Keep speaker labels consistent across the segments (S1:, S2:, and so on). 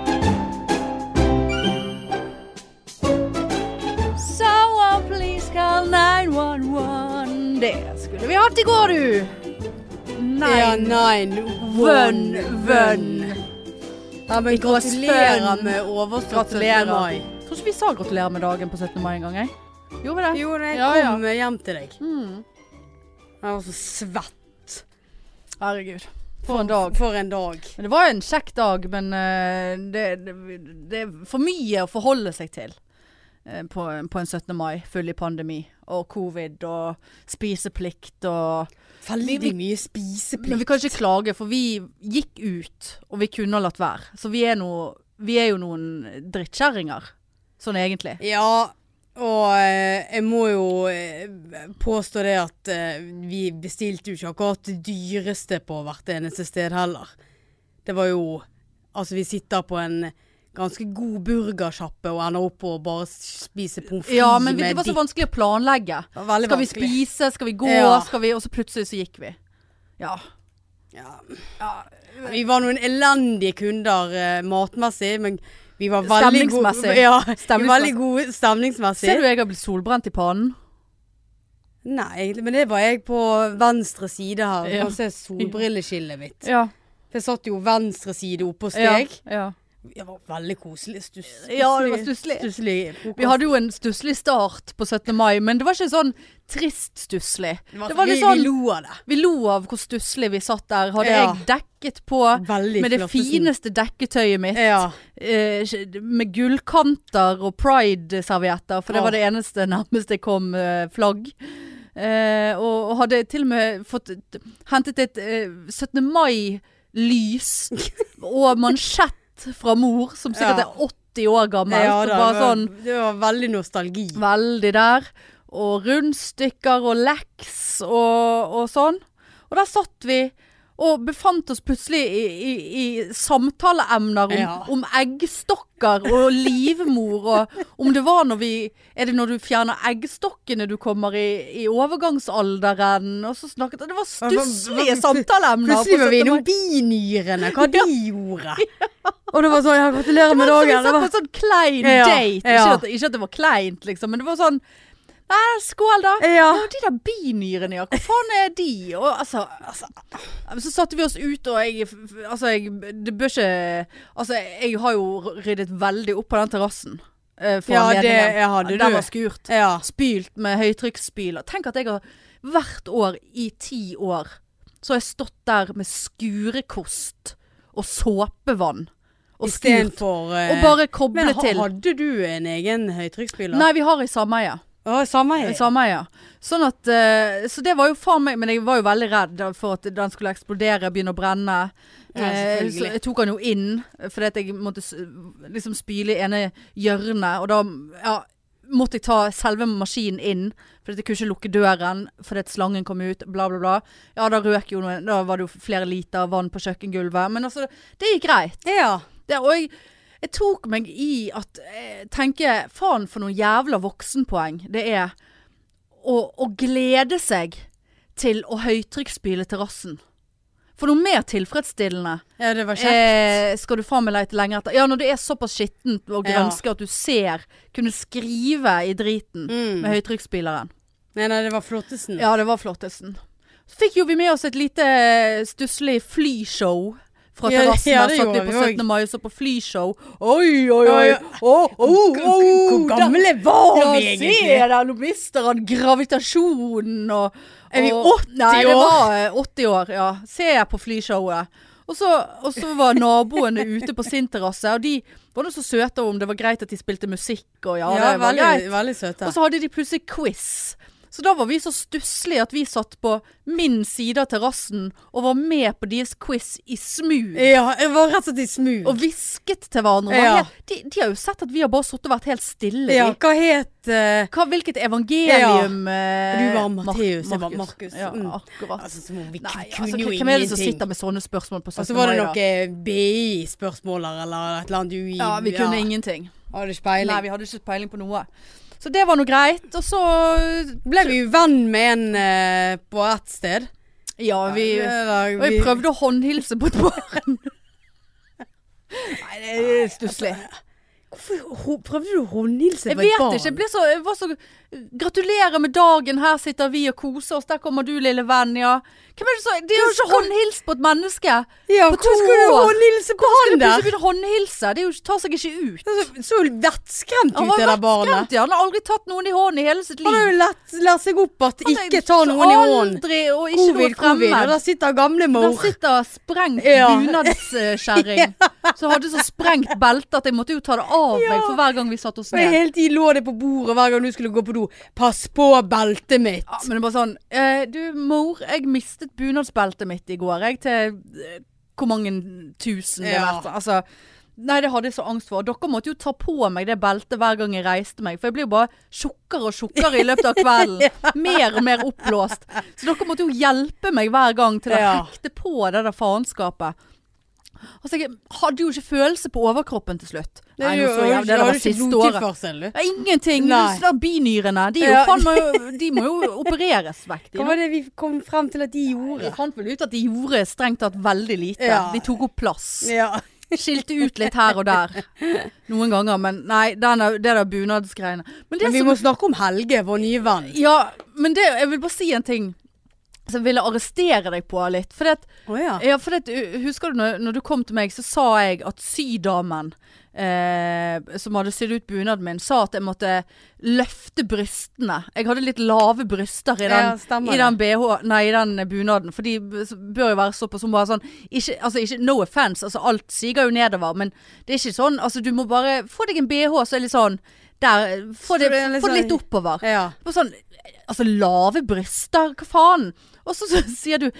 S1: uh, Av det går du!
S2: Ja,
S1: Nein,
S2: nein,
S1: vønn,
S2: one,
S1: vønn.
S2: Ja, men gratulerer
S1: Gratulerer.
S2: med overstått 17.
S1: Gratulerer.
S2: mai.
S1: Tror ikke vi sa gratulerer med dagen på 17. mai en gang, jeg. Gjorde vi det?
S2: Jo, da jeg
S1: Ja, ja.
S2: kom hjem til deg.
S1: Mm.
S2: Jeg var så svett.
S1: Herregud. For en dag.
S2: For en dag.
S1: Men det var jo en kjekk dag, men eh, det, det, det er for mye å forholde seg til eh, på, på en 17. mai full i pandemi og covid og spiseplikt og
S2: Veldig
S1: Vi-
S2: mye
S1: Men vi
S2: spiseplikt.
S1: kan ikke klage, for vi gikk ut, og vi kunne ha latt være. Så vi er, no, vi er jo noen drittkjerringer, sånn egentlig.
S2: Ja, og eh, jeg må jo eh, påstå det at eh, vi bestilte jo ikke akkurat det dyreste på hvert eneste sted heller. Det var jo Altså, vi sitter på en ganske god burgersjappe og ender opp på å bare spise pommes frites
S1: Ja, men vi, det
S2: med
S1: var så
S2: dipp.
S1: vanskelig å planlegge.
S2: Det var veldig
S1: Skal vi
S2: vanskelig.
S1: spise, skal vi gå,
S2: Ja.
S1: skal vi Og så plutselig så gikk vi. Ja.
S2: Ja. Vi var noen elendige kunder eh, matmessig, men vi var veldig gode.
S1: Stemningsmessig.
S2: Ja, vi var
S1: Stemningsmessig.
S2: veldig gode stemningsmessig.
S1: Ser du jeg har blitt solbrent i pannen?
S2: Nei, egentlig, men det var jeg på venstre side her. Du
S1: Ja.
S2: kan se solbrilleskillet mitt.
S1: Ja.
S2: For jeg satt jo venstre side oppå
S1: ja.
S2: steg.
S1: ja.
S2: Det var veldig koselig. Stus,
S1: Ja, det var stusslig.
S2: frokost.
S1: Vi hadde jo en stusslig start på 17. mai, men det var ikke sånn trist stusslig. Det var litt
S2: vi,
S1: sånn
S2: vi lo av det.
S1: Vi lo av hvor stusslig vi satt der. Hadde
S2: Ja.
S1: jeg dekket på
S2: Veldig
S1: med det
S2: flotte
S1: fineste dekketøyet mitt.
S2: Ja.
S1: eh, med gullkanter og pride-servietter, for det
S2: Åh.
S1: var det eneste nærmest jeg kom eh, flagg. Eh, og, og hadde til og med fått hentet et eh, 17. mai-lys og mansjett fra mor, som sikkert
S2: Ja.
S1: er 80 år gammel.
S2: ja
S1: og
S2: da,
S1: bare
S2: det, var,
S1: sånn
S2: det var veldig nostalgi.
S1: veldig der. Og rundstykker og leks og, og sånn. Og der satt vi og befant oss plutselig i, i, i samtaleemner om,
S2: Ja.
S1: om eggstokker og livmor og om det var når vi Er det når du fjerner eggstokkene du kommer i, i overgangsalderen? Og så snakket Det var stusslige samtaleemner. på
S2: Plutselig var vi
S1: 17. mai.
S2: innom binyrene, hva de gjorde. Og det var sånn ja, 'Gratulerer med
S1: Det var
S2: dagen'.
S1: som
S2: Det
S1: vi
S2: var,
S1: satt på en sånn klein
S2: Ja,
S1: date. Ikke,
S2: ja.
S1: at, ikke at det var kleint, liksom, men det var sånn Nei, skål, da.
S2: ja.
S1: Og de der binyrene, ja. Hvor faen er de? Og altså, altså Så satte vi oss ut, og jeg Altså, jeg Det bør ikke Altså, jeg har jo ryddet veldig opp på den terrassen. eh, for
S2: Ja, det
S1: anledningen.
S2: jeg hadde
S1: Den
S2: du.
S1: var skurt.
S2: Ja.
S1: Spylt med høytrykksspyler. Tenk at jeg har hvert år i ti år så har jeg stått der med skurekost og såpevann og skurt.
S2: Istedenfor uh,
S1: Og bare koble
S2: Men ha-
S1: til.
S2: hadde du en egen høytrykksspyler?
S1: Nei, vi har i sameie.
S2: Å, samme her.
S1: Sameie, ja. Sånn at eh, Så det var jo faen meg Men jeg var jo veldig redd da for at den skulle eksplodere, begynne å brenne.
S2: Ja,
S1: Eh,
S2: selvfølgelig.
S1: så jeg tok den jo inn, fordi at jeg måtte s- liksom spyle i ene hjørnet. Og da ja, måtte jeg ta selve maskinen inn, fordi at jeg kunne ikke lukke døren fordi at slangen kom ut, bla, bla, bla. Ja, da røk jo noe Da var det jo flere liter vann på kjøkkengulvet. Men altså, det gikk greit.
S2: Ja.
S1: Det, og jeg, jeg tok meg i at jeg tenker Faen for noen jævla voksenpoeng det er å, å glede seg til å høytrykksspyle terrassen. For noe mer tilfredsstillende
S2: ja, det var kjekt.
S1: eh, skal du faen meg leite lenge etter. Ja, når det er såpass skittent og
S2: Ja.
S1: grønske at du ser Kunne skrive i driten
S2: Mm.
S1: med høytrykksspilleren.
S2: Nei, nei, det var flottesen.
S1: Ja, det var flottesten. Så fikk jo vi med oss et lite eh, stusslig flyshow fra
S2: Ja,
S1: terrassen.
S2: ja,
S1: Ja,
S2: det
S1: satt vi
S2: gjorde
S1: på
S2: vi også.
S1: 17. mai og så på flyshow. Oi, oi, oi!
S2: Ja, ja.
S1: Oh, oh, oh,
S2: Hvor- Hvor gamle var
S1: ja,
S2: vi
S1: se
S2: egentlig?
S1: der, nå mister han gravitasjonen og, og
S2: Er vi 80
S1: Nei, det
S2: år?
S1: var eh, 80 år, ja. Ser jeg på flyshowet. Og så, og så var naboene ute på sin terrasse, og de var nå så søte om det var greit at de spilte musikk, og ja,
S2: Ja,
S1: det var
S2: veldig,
S1: greit.
S2: veldig søte.
S1: Og så hadde de plutselig quiz. Så da var vi så stusslige at vi satt på min side av terrassen og var med på deres quiz i smug.
S2: Ja, jeg var rett og slett i smug.
S1: Og hvisket til hverandre. Og var
S2: Ja.
S1: helt, de, de har jo sett at vi har bare sittet og vært helt stille.
S2: Ja,
S1: vi.
S2: hva het eh,
S1: Hva, hvilket evangelium eh,
S2: Du var
S1: Mar-
S2: Matteus, jeg var Markus.
S1: Ja,
S2: Mm.
S1: akkurat.
S2: altså, som om Vi
S1: Nei,
S2: kunne
S1: altså,
S2: jo
S1: hvem er det som
S2: ingenting.
S1: sitter med sånne spørsmål på 17.
S2: Og så var
S1: mai,
S2: det
S1: da?
S2: noe BI-spørsmåler eller et eller annet UI.
S1: Ja, vi kunne ingenting.
S2: Hadde ikke peiling.
S1: Nei, vi hadde ikke peiling på noe. Så det var nå greit. Og så
S2: Ble vi jo venn med en eh, på ett sted?
S1: Ja, vi
S2: Eller,
S1: Og
S2: vi-
S1: jeg prøvde å håndhilse på et barn. Nei, det er stusslig.
S2: Hvorfor ho- prøvde du å
S1: Altså,
S2: håndhilse
S1: Jeg
S2: på et
S1: vet
S2: barn?
S1: ikke. Jeg, ble så, jeg var så Gratulerer med dagen, her sitter vi og koser oss, der kommer du lille venn, ja. Hvem er det som De har jo ikke håndhilst på et menneske.
S2: Ja,
S1: På
S2: hvor
S1: to
S2: skulle du
S1: år.
S2: håndhilse på
S1: Skal
S2: han
S1: du plutselig
S2: der?
S1: begynne å håndhilse? Det er jo, ikke- tar seg ikke ut.
S2: Det så- Så vettskremt
S1: Han
S2: ut,
S1: var
S2: det der barnet.
S1: vettskremt, ja. Han har aldri tatt noen i hånden i hele sitt liv.
S2: Han har jo lært, lært seg opp at
S1: Han
S2: ikke
S1: er
S2: ta noen i hånden.
S1: Aldri, og ikke
S2: Covid,
S1: noe fremmed.
S2: covid. Og der sitter gamle
S1: Der
S2: mor.
S1: sitter sprengt
S2: Ja.
S1: bunadskjerring som hadde så sprengt belte at jeg måtte jo ta det av meg for hver gang vi satte oss
S2: Og jeg
S1: ned.
S2: hele tiden lå det på bordet hver gang du skulle gå på do. Pass på beltet mitt.
S1: Ja, men det er bare sånn eh, Du, mor, jeg mistet bunadsbeltet mitt i går, jeg, til eh, hvor mange tusen det er
S2: Ja.
S1: verdt. Altså, nei, det hadde jeg så angst for. Dere måtte jo ta på meg det beltet hver gang jeg reiste meg, for jeg blir jo bare tjukkere og tjukkere i løpet av kvelden. Mer og mer oppblåst. Så dere måtte jo hjelpe meg hver gang til å
S2: Ja.
S1: hekte på det der faenskapet. Altså, jeg hadde jo ikke følelse på overkroppen til slutt. Nei, nå så jævlig, det, det var siste året.
S2: året.
S1: Ja, ingenting.
S2: Nei.
S1: Du- Binyrene. De, er jo,
S2: Ja.
S1: faen, må jo, de må jo opereres vekk. De,
S2: Hva var det vi kom frem til at de gjorde?
S1: Vi fant vel ut at de gjorde strengt tatt veldig lite.
S2: Ja.
S1: De tok opp plass.
S2: Ja.
S1: Skilte ut litt her og der. Noen ganger, men nei, den er- det der bunadsgreiene. Men det
S2: Men vi
S1: som
S2: må snakke om Helge, vår nye venn.
S1: Ja, men det, jeg vil bare si en ting som jeg ville arrestere deg på litt. For det,
S2: Å ja.
S1: ja, for det, husker du når, når du kom til meg, så sa jeg at sydamen eh, som hadde sydd ut bunaden min, sa at jeg måtte løfte brystene. Jeg hadde litt lave bryster i den
S2: Ja, stemmer
S1: i den BH, nei, i den bunaden. For de b- s- bør jo være såpass som bare sånn ikke, altså ikke, No offense, altså alt siger jo nedover, men det er ikke sånn. Altså du må bare få deg en BH så er litt sånn Der. Få
S2: Så
S1: det,
S2: det er litt
S1: få det
S2: sånn-
S1: litt oppover.
S2: ja.
S1: På sånn Altså, lave bryster, hva faen? Og så, så sier du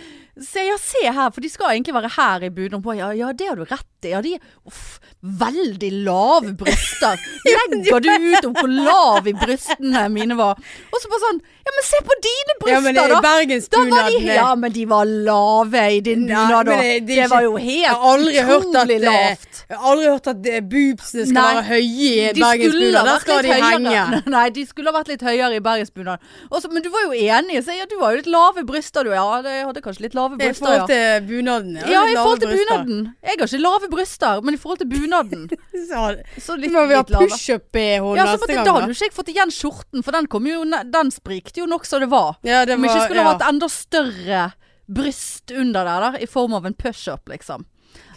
S1: se, Ja, se her, for de skal egentlig være her i bunaden. På. Ja, ja, det har du rett i. Ja, de Uff. Veldig lave bryster. Legger du ut om hvor lav i brystene mine var? Og så bare sånn Ja, men se på dine
S2: ja, men det
S1: bryster, da!
S2: er
S1: Da var de,
S2: bergensbunaden. eh,
S1: ja, men de var lave i din
S2: Nei,
S1: bunad, da.
S2: men det-
S1: Det,
S2: det er ikke-
S1: var jo helt
S2: Jeg har aldri hørt at
S1: utrolig
S2: eh,
S1: lavt.
S2: Jeg har aldri hørt at eh, boobsene skal
S1: Nei.
S2: være høye i
S1: De skulle ha
S2: bergensbunaden. Der
S1: vært
S2: skal
S1: litt
S2: de henge.
S1: høyere. Nei, de skulle ha vært litt høyere i bergensbunad. Også- Men du var jo enig. Så, ja, du har jo litt lave bryster, du. Ja, det- jeg hadde kanskje litt lave
S2: I
S1: bryster, ja.
S2: forhold til bunaden.
S1: Ja, i
S2: lave
S1: forhold til
S2: bryster.
S1: bunaden. Jeg har ikke lave bryster, men i forhold til bunaden,
S2: Så-
S1: så
S2: Så
S1: litt,
S2: må vi ha
S1: litt lave.
S2: pushup-BH
S1: Ja, så
S2: neste
S1: måtte, da
S2: gang. da.
S1: hadde jo ikke jeg fått igjen skjorten, for den kom jo, ne- den sprikte jo nok som det var.
S2: Ja, det
S1: Om jeg ikke skulle
S2: ja.
S1: hatt enda større bryst under der, da, i form av en pushup, liksom.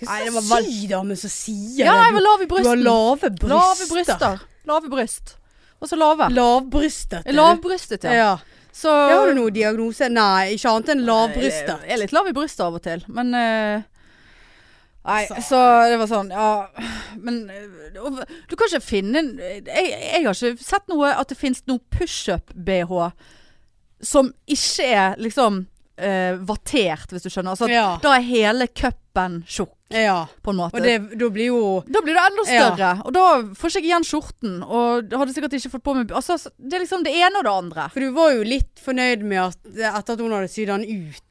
S2: Nei, det var
S1: slags
S2: vel... sydame som sier
S1: Ja, nei, jeg var
S2: det.
S1: lav i
S2: Du, du har
S1: brysten.
S2: lave bryster.
S1: Lave bryster. Lave bryst. Og så lave.
S2: Lavbrystet.
S1: Lavbrystet,
S2: Ja.
S1: ja.
S2: ja.
S1: Så
S2: Har du noen diagnose? Nei, ikke annet enn lavbryster.
S1: Jeg er litt lav i brystet av og til, men eh, Nei,
S2: Så-
S1: så. det var sånn, ja Men eh, og du kan ikke finne en jeg, jeg har ikke sett noe at det finnes noe pushup-BH som ikke er liksom eh, vattert, hvis du skjønner. Altså, at
S2: Ja.
S1: Da er hele cupen tjukk,
S2: Ja.
S1: på en måte.
S2: Og det, da blir jo
S1: Da blir det enda
S2: Ja.
S1: større, og da får ikke jeg igjen skjorten. Og hadde sikkert ikke fått på meg altså, Det er liksom det ene og det andre.
S2: For du var jo litt fornøyd med at etter at hun hadde sydd den ut,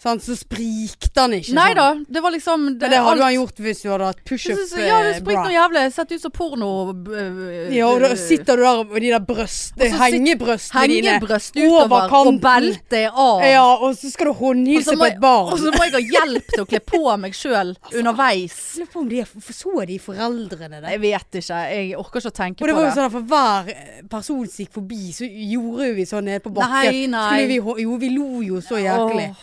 S2: sant, så sprikte den ikke.
S1: Nei da,
S2: sånn.
S1: Mm. det var liksom
S2: Men det
S1: alt-
S2: hadde han gjort hvis du hadde hatt eh,
S1: Jeg synes-
S2: pushup-bra.
S1: Ja, det springer noe jævlig. Sett ut som porno. øh,
S2: Ja, og da
S1: øh,
S2: sitter du der og de der brøst,
S1: Og så sit-
S2: hengebrøstene dine
S1: Hengebryst eh, utover, og beltet er av.
S2: Ja, og så skal du
S1: Og så
S2: håndhilse
S1: må
S2: på
S1: jeg-
S2: et barn. Altså.
S1: Og så må jeg ha hjelp til å kle på meg sjøl underveis.
S2: Lurer på om de er, så de foreldrene der.
S1: Jeg vet ikke. Jeg orker ikke å tenke
S2: Og
S1: på
S2: det var jo
S1: det.
S2: sånn at for hver person som gikk forbi, så gjorde vi sånn nede på bakken.
S1: Nei, nei.
S2: Skulle Vi, hå- jo, vi lo jo så jæklig.
S1: Åh.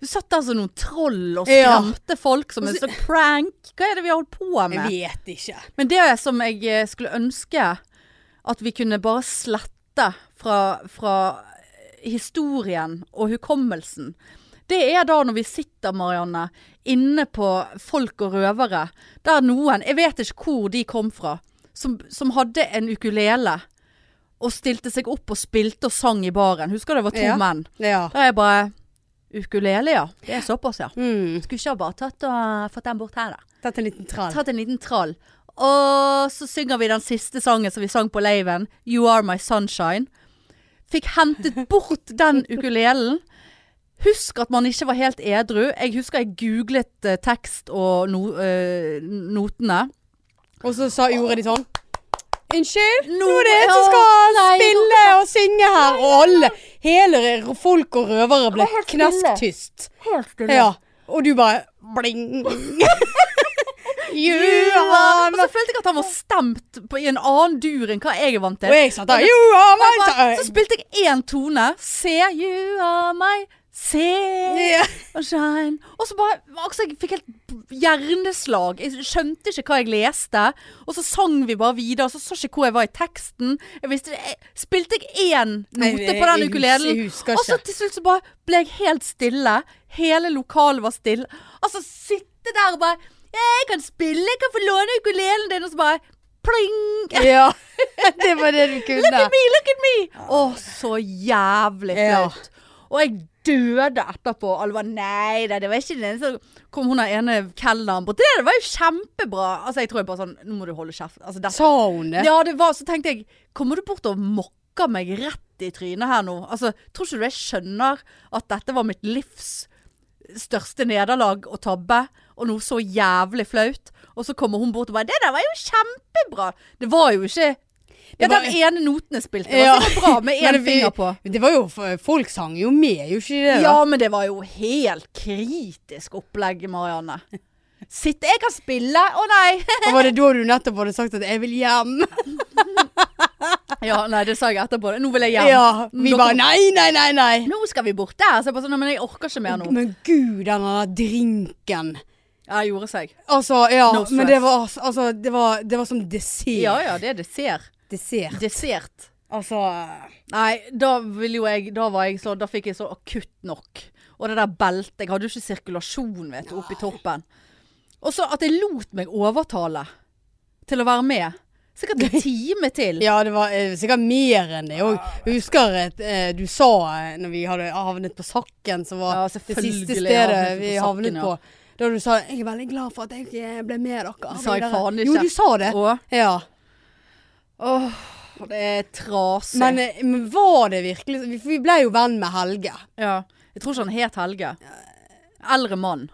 S1: Du satt der som noen troll og
S2: Ja.
S1: skremte folk som en
S2: Og så-
S1: sånn prank. Hva er det vi har holdt på med?
S2: Jeg vet ikke.
S1: Men det som jeg eh, skulle ønske at vi kunne bare slette fra, fra historien og hukommelsen, det er da når vi sitter, Marianne, inne på folk og røvere, der noen, jeg vet ikke hvor de kom fra, som, som hadde en ukulele og stilte seg opp og spilte og sang i baren. Husker du det var to
S2: Ja.
S1: menn?
S2: Ja.
S1: Da er jeg bare Ukulele, ja. Det er såpass, ja.
S2: Mm.
S1: Skulle ikke ha bare tatt og fått den bort her, da
S2: Dette er en liten trall.
S1: tatt en liten trall. Og så synger vi den siste sangen som vi sang på laven, 'You Are My Sunshine'. Fikk hentet bort den ukulelen. Husk at man ikke var helt edru. Jeg husker jeg googlet eh, tekst og no, eh, notene.
S2: Og så sa, gjorde de sånn. Unnskyld, nå er det en
S1: ja,
S2: som skal
S1: nei,
S2: spille og synge her, og alle, hele r- folk og røvere
S1: Det
S2: ble
S1: var helt stille.
S2: knesktyst.
S1: Helt stille.
S2: Ja, og du bare bling. You are
S1: Og
S2: my
S1: så følte jeg at han var stemt på, i en annen dur enn hva jeg er vant til.
S2: Og jeg satt der You are my
S1: Bare- Så
S2: time
S1: spilte jeg én tone. Se you are my Se
S2: Ja.
S1: og shine. Og så bare altså, Jeg fikk helt hjerneslag. Jeg skjønte ikke hva jeg leste. Og så sang vi bare videre, og så så jeg ikke hvor jeg var i teksten. Jeg visste, jeg, spilte jeg én
S2: Nei,
S1: note
S2: jeg-
S1: på den
S2: jeg hus-
S1: ukulelen?
S2: jeg husker
S1: Og så
S2: ikke.
S1: til slutt så bare ble jeg helt stille. Hele lokalet var stille. Altså sitte der og bare Jeg kan spille, jeg kan få låne ukulelen din, og så bare pling!
S2: Ja Det var det du
S1: Look
S2: kunne
S1: at me, look at me! Å, så jævlig
S2: Ja.
S1: flaut. Og jeg døde etterpå. Alle var nei da, det var ikke den. Så kom hun der ene kelneren bort. Det, der, det var jo kjempebra. Altså, jeg tror jeg bare sånn Nå må du holde kjeft. Altså, dette-
S2: Sa hun det?
S1: ja, det var, så tenkte jeg Kommer du bort og mokker meg rett i trynet her nå? Altså, tror ikke du jeg skjønner at dette var mitt livs største nederlag og tabbe? Og noe så jævlig flaut. Og så kommer hun bort og bare 'Det der var jo kjempebra!' Det var jo ikke Ja,
S2: var-
S1: den ene noten jeg spilte, altså, var
S2: Ja.
S1: sikkert bra med
S2: Men
S1: én
S2: vi-
S1: finger på.
S2: Det var jo Folk sang jo med, jo ikke det? da?
S1: Ja, men det var jo helt kritisk opplegg, Marianne. Sitte Jeg kan spille! Å nei!
S2: Og var det da du nettopp hadde sagt at 'jeg vil hjem'?
S1: Ja, nei, det sa jeg etterpå. Nå vil jeg hjem. Mm.
S2: Ja. Vi
S1: Dere-
S2: bare 'nei, nei, nei'. nei
S1: Nå skal vi bort der. Så jeg bare sånn, «Nei, men jeg orker ikke mer nå.
S2: Men gud, den der drinken.
S1: Ja, det gjorde seg.
S2: Altså, ja.
S1: No stress.
S2: men det var, altså, det var, det var som dessert.
S1: Ja ja, det er dessert.
S2: Dessert.
S1: Dessert.
S2: Altså
S1: Nei, da ville jo jeg Da var jeg så Da fikk jeg så akutt nok. Og det der beltet Jeg hadde jo ikke sirkulasjon, vet du, oppi toppen. Og så at jeg lot meg overtale til å være med. Sikkert en time til.
S2: Ja, det var eh, sikkert mer enn det òg. Jeg husker at eh, du sa eh, når vi hadde havnet på Sakken, som var
S1: Ja,
S2: det siste
S1: selvfølgelig
S2: stedet
S1: havnet vi
S2: vi
S1: på Sakken,
S2: havnet
S1: ja.
S2: på. Da du sa 'jeg er veldig glad for at jeg ikke ble med dere'.
S1: Det sa jeg
S2: videre».
S1: faen ikke.
S2: Jo, du sa det.
S1: Åh,
S2: Ja.
S1: åh, det er trasig.
S2: Men, eh, men var det virkelig vi- for Vi ble jo venn med Helge.
S1: ja. Jeg tror ikke han het Helge. Eldre mann.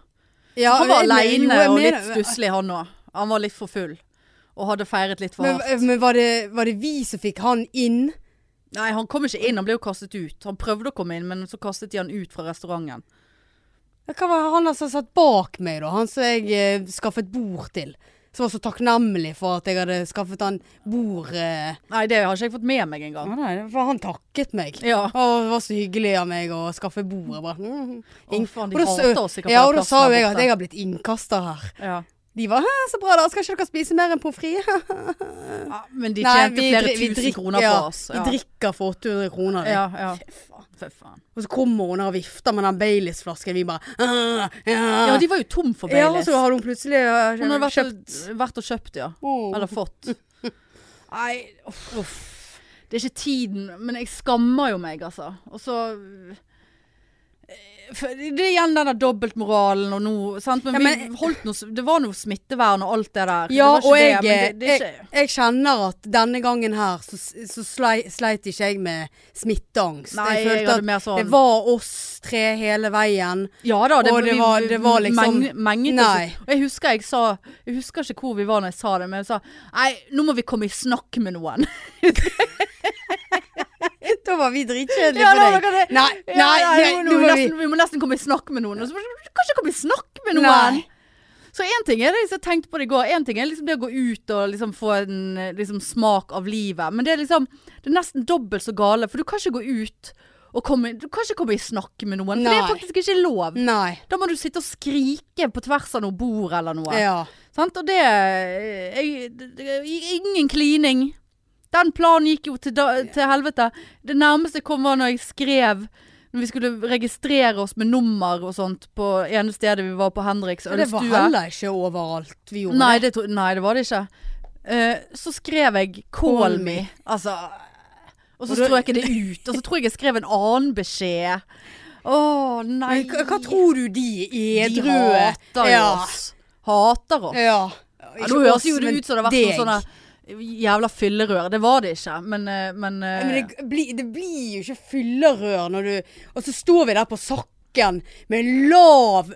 S2: Ja,
S1: Han var
S2: men- jo,
S1: aleine
S2: jeg
S1: og
S2: mener-
S1: litt stusslig, han òg. Han var litt for full. Og hadde feiret litt for
S2: Men,
S1: hardt.
S2: men var, det, var det vi som fikk han inn?
S1: Nei, han kom ikke inn, han ble jo kastet ut. Han prøvde å komme inn, men så kastet de han ut fra restauranten.
S2: Ja, Hva var han som satt bak meg, da? Han som jeg eh, skaffet bord til. Som var så takknemlig for at jeg hadde skaffet han bord. Eh.
S1: Nei, det har ikke jeg fått med meg
S2: Mm.
S1: engang.
S2: for han takket meg.
S1: Ja.
S2: Og det var så hyggelig av meg å skaffe bord. Jeg bare, mm.
S1: Å,
S2: ing-
S1: faen, de
S2: Og da
S1: hater
S2: sa-
S1: oss sikkert på
S2: Ja,
S1: den
S2: og da
S1: plassen
S2: sa
S1: der
S2: jo jeg at
S1: borte.
S2: jeg har blitt innkaster her.
S1: Ja.
S2: De var «Hæ, 'så bra, da. Skal ikke dere spise mer enn pommes frites?'
S1: Ja, Ah, men de
S2: Nei,
S1: tjente
S2: vi
S1: flere
S2: dri- vi
S1: tusen
S2: drik-
S1: kroner
S2: ja,
S1: på oss.
S2: Vi drikker for 800 kroner. vi.
S1: ja, ja. Fy faen.
S2: Og så kommer hun her og vifter med den Baileys-flasken. Vi bare «Ah,
S1: Ja,
S2: ja.
S1: de var jo tom for
S2: ja, og
S1: Baileys.
S2: så har hun plutselig eh,
S1: Hun hadde vært,
S2: kjøpt
S1: Og, vært og kjøpt, ja.
S2: Mm.
S1: Eller fått. Nei, uff. Det er ikke tiden, men jeg skammer jo meg, altså. Og så eh, For Det er igjen denne dobbeltmoralen og noe sant? Men,
S2: Ja, men-
S1: vi holdt noe, det var noe smittevern og alt det der.
S2: Ja,
S1: det
S2: og
S1: var ikke
S2: jeg, eh,
S1: det, men det, det er
S2: jeg,
S1: ikke
S2: jeg kjenner at denne gangen her så, så slei, sleit ikke jeg med smitteangst.
S1: Nei, jeg,
S2: jeg følte
S1: hadde mer
S2: at det
S1: sånn
S2: var oss tre hele veien.
S1: Ja da, det,
S2: og det
S1: vi-
S2: var- det var liksom-
S1: meng- menget oss.
S2: Nei.
S1: Og jeg husker jeg sa Jeg husker ikke hvor vi var når jeg sa det, men jeg sa Nei, nå må vi komme i snakk med noen.
S2: Da var vi dritkjedelige
S1: Ja, da
S2: for
S1: var
S2: deg.
S1: dere det.
S2: Nei, nei,
S1: nå-
S2: nei, nå
S1: nå,
S2: var vi
S1: nesten, vi må nesten komme i snakk med noen. Og så bare, Du kan ikke komme i snakk med noen!
S2: Nei.
S1: Så én ting er det liksom, jeg tenkte på det i går. En ting er liksom det å gå ut og liksom få en eh, liksom, smak av livet. Men det er liksom Det er nesten dobbelt så gale, for du kan ikke gå ut og komme Du kan ikke komme i snakk med noen. For det
S2: Nei.
S1: er faktisk ikke lov.
S2: Nei.
S1: Da må du sitte og skrike på tvers av noe bord eller noe.
S2: Ja.
S1: Sant? Og det eh, jeg, det- det- Ingen klining. Den planen gikk jo til, da, til helvete. Det nærmeste jeg kom var når jeg skrev når vi skulle registrere oss med nummer og sånt på ene stedet vi var på Henriks
S2: Og Det var
S1: ølstue.
S2: heller ikke overalt vi gjorde.
S1: Nei det, tro- nei, det var det ikke. Eh, så skrev jeg 'call me'. Altså Og så
S2: Og da-
S1: strøk jeg det ut. Og så tror jeg jeg skrev en annen beskjed. Å nei.
S2: Men hva, hva tror du de
S1: De
S2: edru
S1: hater jo
S2: ja.
S1: oss. Hater oss.
S2: Ja.
S1: Ja,
S2: Ikke
S1: Nå høres
S2: oss,
S1: jo det
S2: men
S1: ut som det har vært
S2: deg.
S1: noen sånne jævla fyllerør. Det var det ikke, men, eh, men, eh,
S2: Ja, Men det, blir- det blir jo ikke fyllerør når du Og så står vi der på Sakken med en lav,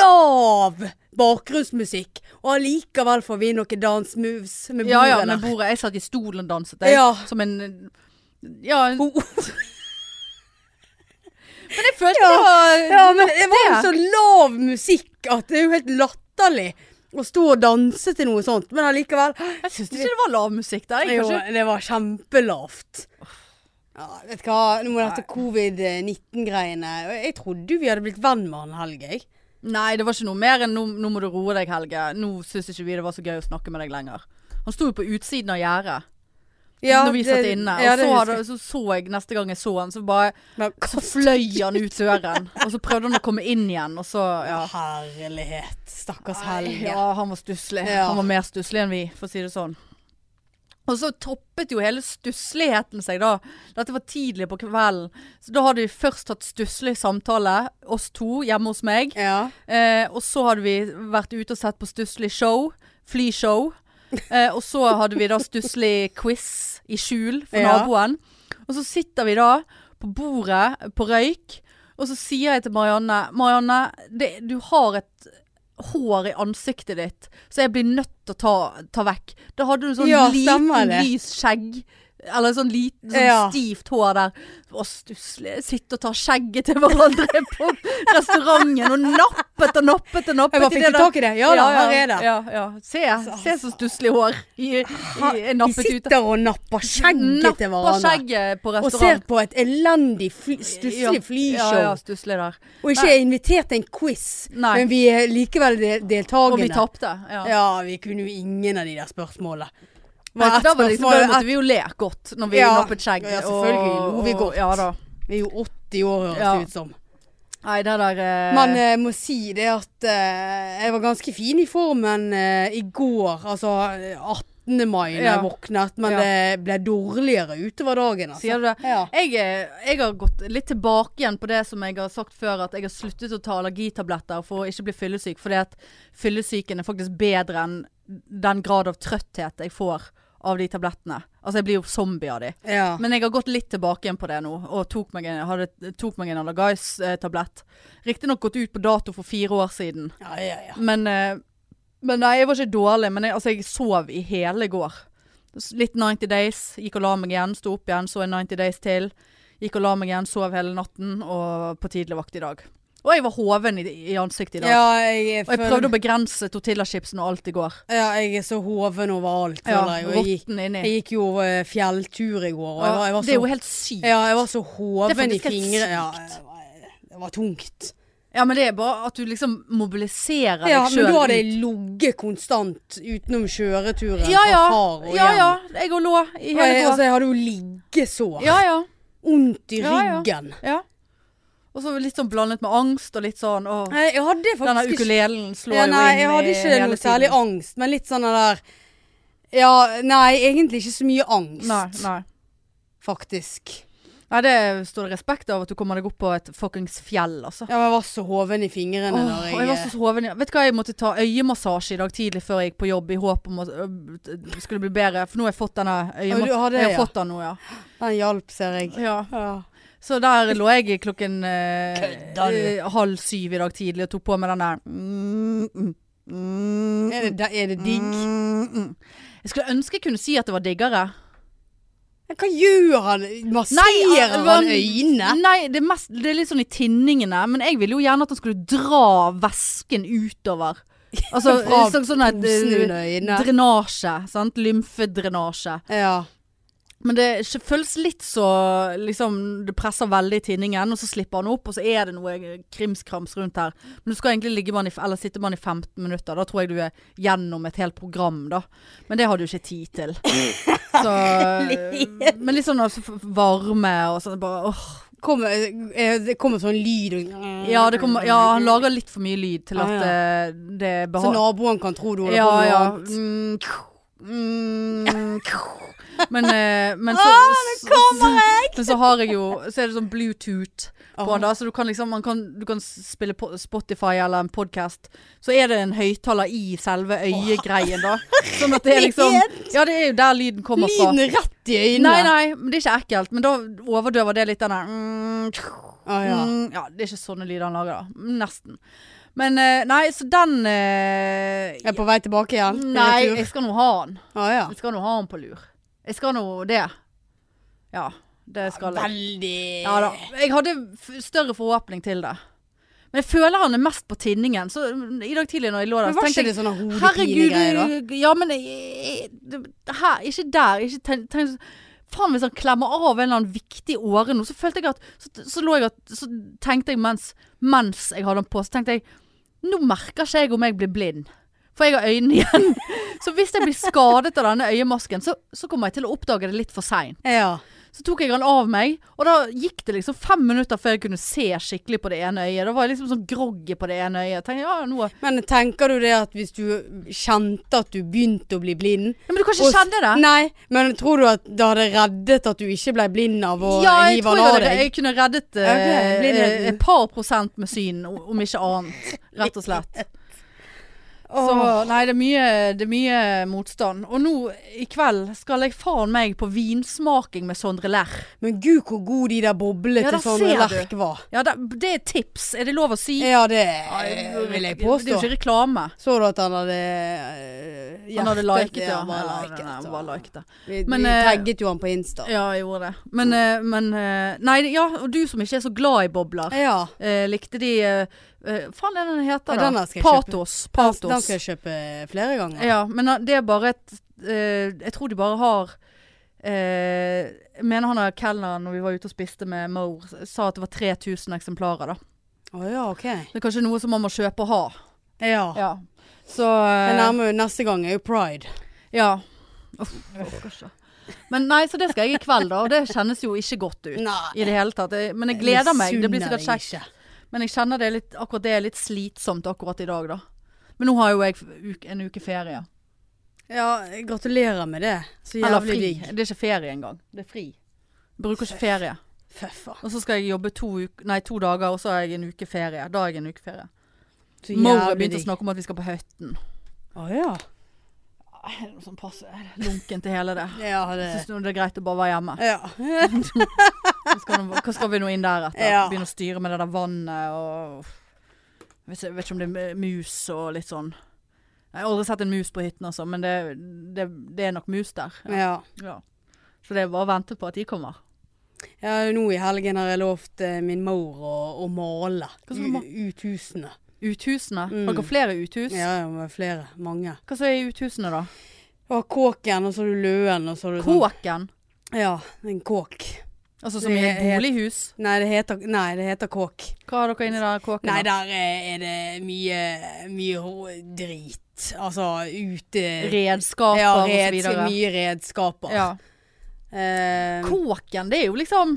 S2: lav bakgrunnsmusikk, og allikevel får vi noen dansemoves med bordet
S1: Ja ja, med
S2: der.
S1: bordet. Jeg satt i stolen og danset, jeg.
S2: Ja.
S1: Som en Ja. en-
S2: Ho-
S1: Men jeg følte
S2: Ja,
S1: det var
S2: ja, men det var jo så lav musikk at det er jo helt latterlig. Å stå og danse til noe sånt, men allikevel
S1: Jeg syns ikke det var lav musikk der. Jeg,
S2: jo,
S1: kanskje.
S2: Det var kjempelavt. Ja, vet du hva, nå må dette
S1: Nei.
S2: covid-19-greiene Jeg trodde jo vi hadde blitt venn med han Helge, jeg.
S1: Nei, det var ikke noe mer enn nå, 'nå må du roe deg, Helge'. Nå syns ikke vi det var så gøy å snakke med deg lenger. Han sto jo på utsiden av gjerdet når vi satt inne. Og
S2: ja, det
S1: så,
S2: husker
S1: hadde, så så jeg neste gang jeg så han, så bare
S2: Da-
S1: Så fløy han ut døren. Og så prøvde han å komme inn igjen, og så ja.
S2: Herlighet. Stakkars Helge.
S1: Ja, han var stusslig.
S2: Ja.
S1: Han var mer stusslig enn vi, for å si det sånn. Og så toppet jo hele stussligheten seg da. Dette var tidlig på kvelden. Så da hadde vi først hatt stusslig samtale, oss to hjemme hos meg.
S2: Ja.
S1: Eh, og så hadde vi vært ute og sett på stusslig show. Flyshow. Eh, og så hadde vi da stusslig quiz i skjul for
S2: Ja.
S1: naboen. Og så sitter vi da på bordet på røyk, og så sier jeg til Marianne Marianne, det, du har et hår i ansiktet ditt, så jeg blir nødt til å ta, ta vekk. Da hadde du sånn
S2: Ja,
S1: liten,
S2: stemmer det.
S1: lys skjegg. Eller sånn liten, sånn
S2: Ja.
S1: stivt hår der. Å, stusslig. Sitte og ta skjegget til hverandre på restauranten. Og nappet og nappet og nappet.
S2: Jeg bare fikk ikke tak i det. Ja da, her er det. Altså,
S1: Ja, ja. Se, se så stusslig hår. I, i, er
S2: De
S1: nappet ut.
S2: sitter og napper skjegget til
S1: Napper
S2: hverandre.
S1: skjegget på
S2: Og ser
S1: restaurant.
S2: på et elendig fly, stusslig flyshow.
S1: Ja, ja, stusslig der.
S2: Og ikke er invitert til en quiz,
S1: Nei.
S2: men vi er likevel de
S1: Og
S2: deltakende.
S1: vi tapte. Ja.
S2: Ja, vi kunne jo ingen av de der spørsmålene.
S1: Men
S2: ett
S1: da, var det liksom, da
S2: spørsmål-
S1: måtte vi jo le godt når vi
S2: Ja.
S1: nappet skjegg.
S2: Ja, selvfølgelig lo vi
S1: og-
S2: godt.
S1: Ja da.
S2: Vi er jo 80 år, høres
S1: Ja.
S2: det ut som.
S1: Nei, det der eh,
S2: Men jeg må si det at eh, jeg var ganske fin i formen eh, i går, altså eh, 18. mai da
S1: Ja.
S2: jeg våknet, men
S1: Ja.
S2: det ble dårligere utover dagen. Altså.
S1: Sier du det?
S2: Ja.
S1: Jeg, eh, jeg har gått litt tilbake igjen på det som jeg har sagt før, at jeg har sluttet å ta allergitabletter for å ikke bli fyllesyk, fordi at fyllesyken er faktisk bedre enn den grad av trøtthet jeg får av de tablettene. Altså, jeg blir jo zombie av de.
S2: Ja.
S1: Men jeg har gått litt tilbake igjen på det nå, og tok meg en, hadde, tok meg en Allergice-tablett. Riktignok gått ut på dato for fire år siden,
S2: ja, ja, ja.
S1: men, eh, men nei, jeg var ikke dårlig. Men jeg, altså, jeg sov i hele går. S- Litt 90 Days. Gikk og la meg igjen, sto opp igjen, så en 90 Days til. Gikk og la meg igjen, sov hele natten og på tidlig vakt i dag. Og jeg var hoven i, i ansiktet i dag.
S2: Ja, jeg,
S1: Og jeg prøvde å begrense tortillachipsen og alt i går.
S2: ja, jeg er så hoven overalt.
S1: Ja,
S2: føler jeg, og jeg, gikk,
S1: Rotten inni.
S2: jeg gikk jo eh, fjelltur i går, og jeg var, jeg var
S1: det er
S2: så
S1: jo helt sykt.
S2: Ja, jeg var så hoven i
S1: faktisk helt
S2: fingrene. Ja, det var- det var tungt.
S1: Ja, men det er bare at du liksom mobiliserer
S2: Ja,
S1: deg
S2: men
S1: sjøl.
S2: da hadde jeg ligget konstant utenom kjøreturen
S1: ja, ja.
S2: fra altså, far og
S1: ja,
S2: hjem.
S1: ja. Jeg og lå i
S2: Og jeg,
S1: hele går.
S2: altså, jeg hadde jo liggesår.
S1: Ja, ja.
S2: Vondt i
S1: Ja, ja.
S2: ryggen.
S1: ja. Og så litt sånn blandet med angst og litt sånn åh.
S2: Nei, Jeg hadde
S1: Denne
S2: faktisk ikke
S1: ukulelen slår
S2: ja, Nei,
S1: jo
S2: jeg
S1: eh, inn
S2: hadde
S1: i
S2: ikke
S1: hele
S2: noe særlig
S1: tiden.
S2: angst, men litt sånn den der Ja, nei, egentlig ikke så mye angst,
S1: Nei, nei.
S2: faktisk.
S1: nei, det står det respekt av at du kommer deg opp på et fuckings fjell, altså.
S2: Ja, men jeg var så hoven i fingrene
S1: Åh,
S2: når eh,
S1: og jeg var så hoven. i- Vet du hva, jeg måtte ta øyemassasje i dag tidlig før jeg gikk på jobb, i håp om at øh, skulle bli bedre. For nå har jeg fått denne
S2: du har
S1: øyemassasjen.
S2: det,
S1: Jeg har
S2: ja.
S1: fått den nå, ja.
S2: Den hjalp, ser jeg.
S1: ja.
S2: Ja.
S1: Så der lå jeg klokken eh,
S2: Kødder du?
S1: eh, halv syv i dag tidlig og tok på meg den der mm, mm, mm,
S2: Er, det, er det digg?
S1: mm, mm. Jeg skulle ønske jeg kunne si at det var diggere.
S2: Men Hva gjør han? Masserer han øynene?
S1: Nei, det er, mest, det er litt sånn i tinningene. Men jeg ville jo gjerne at han skulle dra væsken utover. Altså
S2: Fra
S1: sånn, sånn at,
S2: posen
S1: eh,
S2: under øynene.
S1: Drenasje. Sant? Lymfedrenasje.
S2: Ja.
S1: Men det kj- føles litt så liksom, Det presser veldig i tinningen, og så slipper han opp, og så er det noe krimskrams rundt her. Men du skal egentlig ligge man i, f- eller sitte man i 15 minutter. Da tror jeg du er gjennom et helt program, da. Men det har du ikke tid til. Så, men litt sånn altså, f- varme og sånn bare, åh.
S2: Kommer, eh, det kommer sånn lyd og
S1: Ja, det kommer, ja, han lager litt for mye lyd til at
S2: Ah, Ja,
S1: eh, det er
S2: Så
S1: behagelig.
S2: naboen kan tro du holder
S1: Ja,
S2: på med
S1: ja.
S2: noe annet.
S1: Mm, mm, men, eh, men så
S2: Åh, nå kommer
S1: jeg! Men så har jeg jo Så er det sånn Bluetooth på
S2: Åh.
S1: den, da. Så du kan liksom man kan, Du kan spille på Spotify eller en podkast. Så er det en høyttaler i selve øyegreien, da. Sånn at det er liksom Ja, det er jo der lyden kommer fra.
S2: Lyden rett i øynene.
S1: Nei, nei, men det er ikke ekkelt. Men da overdøver det litt den der mm,
S2: Ah, ja.
S1: Mm, ja, det er ikke sånne lyder han lager, da. Nesten. Men eh, nei, så den eh,
S2: Jeg er på vei tilbake igjen.
S1: Nei,
S2: Retur.
S1: jeg skal nå ha han.
S2: Ah, ja.
S1: Jeg skal nå ha han på lur. Jeg skal nå det. Ja, det skal jeg.
S2: Veldig
S1: Ja da. Jeg hadde f større forhåpning til det. Men jeg føler han er mest på tinningen. Så mm, i dag tidlig når jeg lå der,
S2: Men
S1: så
S2: var ikke
S1: tenkte
S2: det
S1: jeg
S2: sånne
S1: Herregud,
S2: hodepinegreier, da?
S1: du- ja, men jeg- jeg- her, ikke der. Ikke tenk, tenk, faen, hvis han klemmer av en eller annen viktig åre nå, så følte jeg at Så, så lå jeg at Så tenkte jeg mens, mens jeg hadde han på, så tenkte jeg Nå merker ikke jeg om jeg blir blind. For jeg har øynene igjen. Så hvis jeg blir skadet av denne øyemasken, så, så kommer jeg til å oppdage det litt for seint.
S2: Ja.
S1: Så tok jeg han av meg, og da gikk det liksom fem minutter før jeg kunne se skikkelig på det ene øyet. Da var jeg liksom sånn groggy på det ene øyet. Tenkte, jeg, ja, nå...
S2: Men tenker du det at hvis du kjente at du begynte å bli blind
S1: ja, men du kan ikke
S2: Og-
S1: kjenne det.
S2: Nei, men tror du at det hadde reddet at du ikke ble blind av å
S1: ja, jeg
S2: hive
S1: tror jeg,
S2: han av
S1: hadde,
S2: deg?
S1: jeg kunne reddet eh,
S2: Ok, blir det-
S1: eh, et par prosent med syn, o- om ikke annet. Rett og slett. Så
S2: Åh.
S1: nei, det er, mye, det er mye motstand. Og nå i kveld skal jeg faen meg på vinsmaking med Sondre Lerr.
S2: Men gud, hvor god de der
S1: Ja,
S2: boblene
S1: der
S2: til sånne
S1: ser du.
S2: lerk var.
S1: Ja, det, det er tips. Er det lov å si?
S2: Ja, det
S1: Nei,
S2: vil jeg
S1: Eh, Det er jo
S2: påstå.
S1: ikke reklame.
S2: Så du at han hadde eh,
S1: Han hadde
S2: hjertet-
S1: liket det.
S2: Ja, bare
S1: Ja,
S2: liket,
S1: han
S2: ja.
S1: bare liket det.
S2: Vi,
S1: Men,
S2: vi
S1: eh,
S2: tagget jo han på Insta.
S1: Ja, jeg gjorde det. Men, eh, men eh, Nei, ja, og du som ikke er så glad i bobler.
S2: Ja.
S1: eh, likte de eh, eh, Faen, er den heter
S2: Ja,
S1: da?
S2: den her skal jeg
S1: Patos. Patos.
S2: Den skal jeg kjøpe flere ganger.
S1: Ja, men eh, det er bare et eh, Jeg tror de bare har eh, Jeg mener han der kelneren når vi var ute og spiste med Moe, sa at det var 3000 eksemplarer, da.
S2: Å ja, ok.
S1: Det er kanskje noe som man må kjøpe og ha.
S2: Ja.
S1: Ja. Så eh,
S2: Det nærmer jo neste gang er jo pride.
S1: Ja. Uff, jeg orker ikke. Men nei, så det skal jeg i kveld, da. Og det kjennes jo ikke godt ut.
S2: Nei.
S1: I det hele tatt. Jeg- Men jeg gleder meg. Det blir
S2: misunner
S1: sikkert
S2: jeg
S1: kjekt.
S2: ikke.
S1: Men jeg kjenner det er litt, akkurat det er litt slitsomt akkurat i dag, da. Men nå har jo jeg uk- en uke ferie.
S2: Ja, gratulerer med det. Så
S1: Eller
S2: jævlig
S1: fri.
S2: digg.
S1: Det er ikke ferie engang. Det er fri. Jeg bruker ikke ferie.
S2: Fy faen.
S1: Og så skal jeg jobbe to, uk nei, to dager, og så har jeg en uke ferie. Da har jeg en uke ferie.
S2: Så
S1: Maura
S2: jævlig
S1: begynte å
S2: digg.
S1: snakke om at vi skal på Høtten.
S2: Å ja.
S1: Nei, det er noe Sånn passe lunken til hele det.
S2: Ja, det
S1: Syns nå det er greit å bare være hjemme.
S2: ja.
S1: Så Skal, nå- hva skal vi nå inn der etter?
S2: Ja.
S1: Begynne å styre med det der vannet og Jeg vet ikke- jeg vet ikke om det er mus og litt sånn. Jeg har aldri sett en mus på hytten, altså, men det, det, det er nok mus der.
S2: ja.
S1: Ja. Så det er bare å vente på at de kommer.
S2: Ja, nå i helgen har jeg lovt eh, min mor å, å male
S1: Hva skal du ma-
S2: U- uthusene.
S1: Uthusene.
S2: Mm.
S1: Har dere flere uthus?
S2: Ja, ja, med flere. Mange.
S1: Hva så er i uthusene, da?
S2: Du har kåken, og så har du løen, og så har du sånn
S1: Kåken?
S2: Ja, en kåk.
S1: Altså som
S2: Det
S1: i et
S2: er-
S1: bolighus?
S2: Nei, det heter, nei, det heter kåk.
S1: Hva har dere inni der kåken?
S2: Nei,
S1: da?
S2: der eh, er det mye, mye rå- drit. Altså ute
S1: Redskaper
S2: ja,
S1: og så
S2: reds-
S1: videre.
S2: Mye redskaper.
S1: Ja.
S2: Eh,
S1: Kåken, det er jo liksom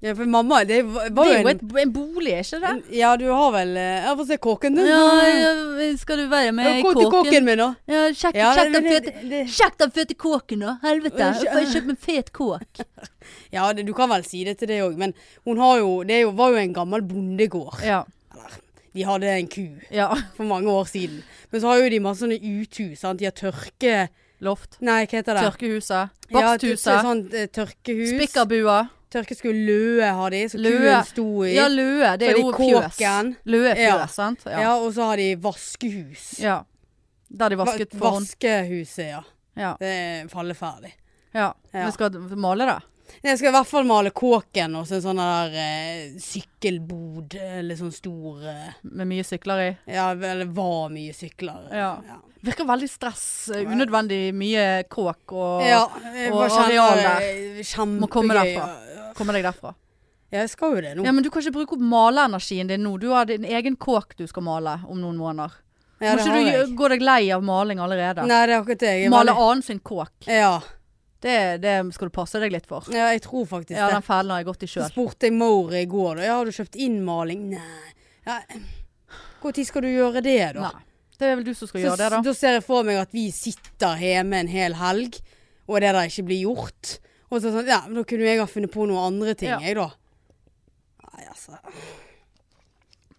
S2: ja, for mamma, det var, var
S1: Det er jo
S2: en,
S1: et, en bolig, er ikke det?
S2: en Ja, du har vel eh, Ja, få se kåken din.
S1: skal du være
S2: Ja, Gå til kåken min, da.
S1: Ja, sjekk,
S2: Ja,
S1: sjekk
S2: det-
S1: den
S2: det-
S1: fete
S2: det-
S1: Sjekk den fete kåken nå, helvete.
S2: Øh,
S1: Jeg får kjøpt en fet kåk.
S2: Ja, det, du kan vel si det til det òg, men hun har jo, det er jo, var jo en gammel bondegård.
S1: Ja.
S2: De hadde en ku
S1: ja.
S2: for mange år siden. Men så har jo de masse sånne uthus. Sant? De har tørke...
S1: Loft.
S2: Nei, hva heter det?
S1: Tørkehuset.
S2: Ja,
S1: Baksthuset.
S2: sånn eh, tørkehus.
S1: Spikkerbua.
S2: Tørkesku løe har de, så
S1: Løe.
S2: kuen sto i.
S1: Ja, løe. Det er
S2: Fordi
S1: jo fjøs.
S2: kåken-
S1: Løe er
S2: Ja.
S1: fjøs, sant?
S2: Ja,
S1: Ja.
S2: og så har de vaskehus.
S1: ja. Der de vasket
S2: Va-
S1: for hånd.
S2: Vaskehuset, ja.
S1: Ja.
S2: Det er falleferdig.
S1: ja. Vi skal male det.
S2: Jeg skal i hvert fall male kåken og så en sånn der eh, sykkelbod, eller sånn stor eh,
S1: Med mye sykler i.
S2: Ja, eller var mye sykler.
S1: Ja.
S2: ja.
S1: Virker veldig stress. eh, Unødvendig mye kåk og
S2: Ja,
S1: og
S2: bare kjenner
S1: areal
S2: det
S1: der.
S2: Kjempegøy.
S1: Må komme derfra. komme deg derfra.
S2: Ja, jeg skal jo det nå.
S1: Ja, Men du kan ikke bruke opp maleenergien din nå. Du har din egen kåk du skal male om noen måneder.
S2: Ja,
S1: Må
S2: det
S1: ikke
S2: har
S1: du
S2: jeg.
S1: gjø- gå deg lei av maling allerede?
S2: Nei, det er akkurat det. Jeg er
S1: Male
S2: veldig-
S1: annen sin kåk.
S2: Ja.
S1: Det, det skal du passe deg litt for.
S2: ja, jeg tror faktisk
S1: Ja,
S2: det.
S1: den fellen har jeg gått i
S2: Så
S1: sjøl.
S2: spurte jeg Maure i går, da. Ja, har du kjøpt inn maling? Nei. Ja. Når skal du gjøre det, da?
S1: Nei. Det er vel du som skal gjøre det, da.
S2: da ser jeg for meg at vi sitter hjemme en hel helg, og det der ikke blir gjort. Og så sånn, ja, men da kunne jeg ha funnet på noen andre ting,
S1: Ja.
S2: jeg, da. Nei, altså.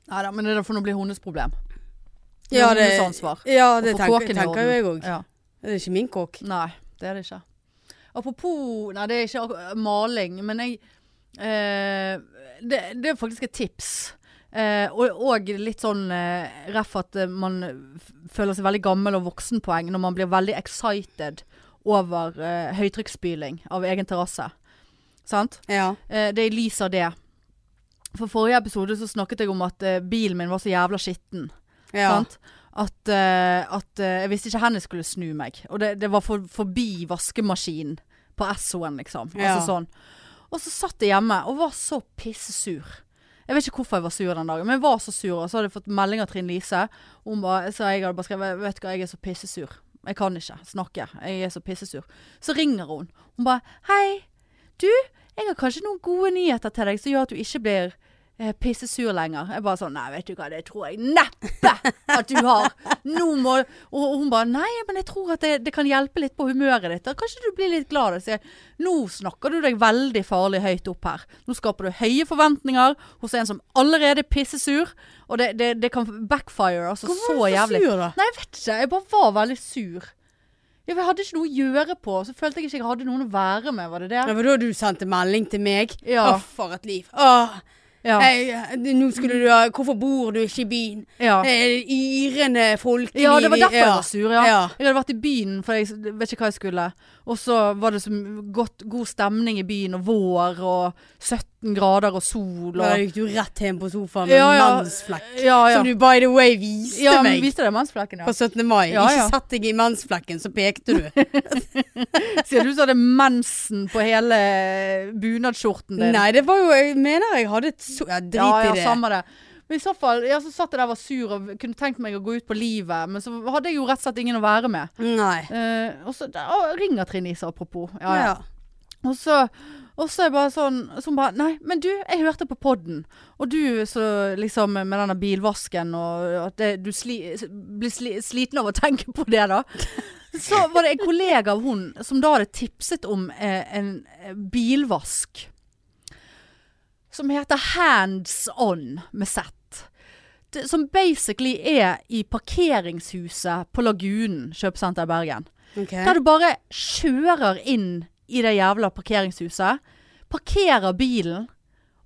S1: Nei da, men det får nå bli hennes problem. Det er
S2: Ja, det,
S1: hennes ansvar.
S2: ja, det
S1: Å få
S2: tenker,
S1: kåken i
S2: tenker jo
S1: orden.
S2: jeg òg.
S1: Ja.
S2: Det er ikke min kåk.
S1: Nei, det er det ikke. Apropos Nei, det er ikke ak- maling, men jeg eh, det, det er faktisk et tips. Eh, og, og litt sånn eh, ref at eh, man f- føler seg veldig gammel og voksenpoeng når man blir veldig excited over eh, høytrykksspyling av egen terrasse. Sant?
S2: Ja.
S1: Eh, det er i lys av det. For forrige episode så snakket jeg om at eh, bilen min var så jævla skitten.
S2: Ja.
S1: Sant? At, eh, at eh, jeg visste ikke hvor jeg skulle snu meg. Og det, det var for, forbi vaskemaskinen på Esso-en, liksom.
S2: Ja.
S1: Altså sånn. Og så satt jeg hjemme og var så pissesur. Jeg vet ikke hvorfor jeg var sur den dagen, men jeg var så sur. Og så hadde jeg fått melding av Trine Lise. og Hun bare, så jeg hadde bare skrevet 'Vet du hva, jeg er så pissesur. Jeg kan ikke snakke. Jeg er så pissesur.' Så ringer hun. Hun bare 'Hei, du, jeg har kanskje noen gode nyheter til deg som gjør at du ikke blir eh, pissesur lenger. Jeg bare sånn Nei, vet du hva, det tror jeg neppe at du har. Nå må Og og hun bare Nei, men jeg tror at det, det kan hjelpe litt på humøret ditt. Kanskje du blir litt glad. Så jeg, nå snakker du deg veldig farlig høyt opp her. Nå skaper du høye forventninger hos en som allerede er pissesur. Og det, det, det kan backfire altså
S2: Hvorfor
S1: så
S2: var du så
S1: jævlig.
S2: sur, da?
S1: Nei, jeg vet ikke. Jeg bare var veldig sur. Ja, for Jeg hadde ikke noe å gjøre på. Så følte jeg ikke jeg hadde noen å være med. Var det det?
S2: Det var da du sendte melding til meg.
S1: Ja.
S2: Å, for et liv. Åh,
S1: Ja.
S2: hei, eh, nå skulle du ha Hvorfor bor du ikke i byen?
S1: Ja.
S2: Eh, yrende folkeliv.
S1: Ja, det var
S2: i-
S1: derfor jeg
S2: ja.
S1: var sur, ja.
S2: Ja.
S1: Jeg hadde vært i byen, for jeg s- vet ikke hva jeg skulle. Og så var det så m- godt, god stemning i byen, og vår, og 17 grader og sol.
S2: Da
S1: Og,
S2: gikk du rett hjem på sofaen med
S1: Ja, ja.
S2: mensflekk.
S1: ja, ja.
S2: Som du by the way viste
S1: ja, men
S2: meg
S1: viste det mensflekken, ja.
S2: på 17. mai.
S1: Ja, ja.
S2: Ikke sett deg i mensflekken, så pekte du.
S1: Sier du så hadde mensen på hele bunadsskjorten din?
S2: Nei, det var jo Jeg mener jeg hadde et så ja, Drit
S1: ja, ja,
S2: i det.
S1: samme det. Men i så fall, ja, så satt jeg der og var sur og kunne tenkt meg å gå ut på livet, men så hadde jeg jo rett og slett ingen å være med.
S2: Nei.
S1: Eh, og så da, å, ringer Trine Lise, apropos. Ja, ja.
S2: Ja.
S1: Og så, og så er jeg bare sånn Så hun bare Nei, men du, jeg hørte på podden. Og du så liksom med denne bilvasken og at det, du sli, blir sli, sliten av å tenke på det, da. Så var det en kollega av hun som da hadde tipset om eh, en eh, bilvask som heter Hands On med Z. Det- Som basically er i parkeringshuset på Lagunen kjøpesenter i Bergen.
S2: Ok.
S1: Der du bare kjører inn i det jævla parkeringshuset, parkerer bilen,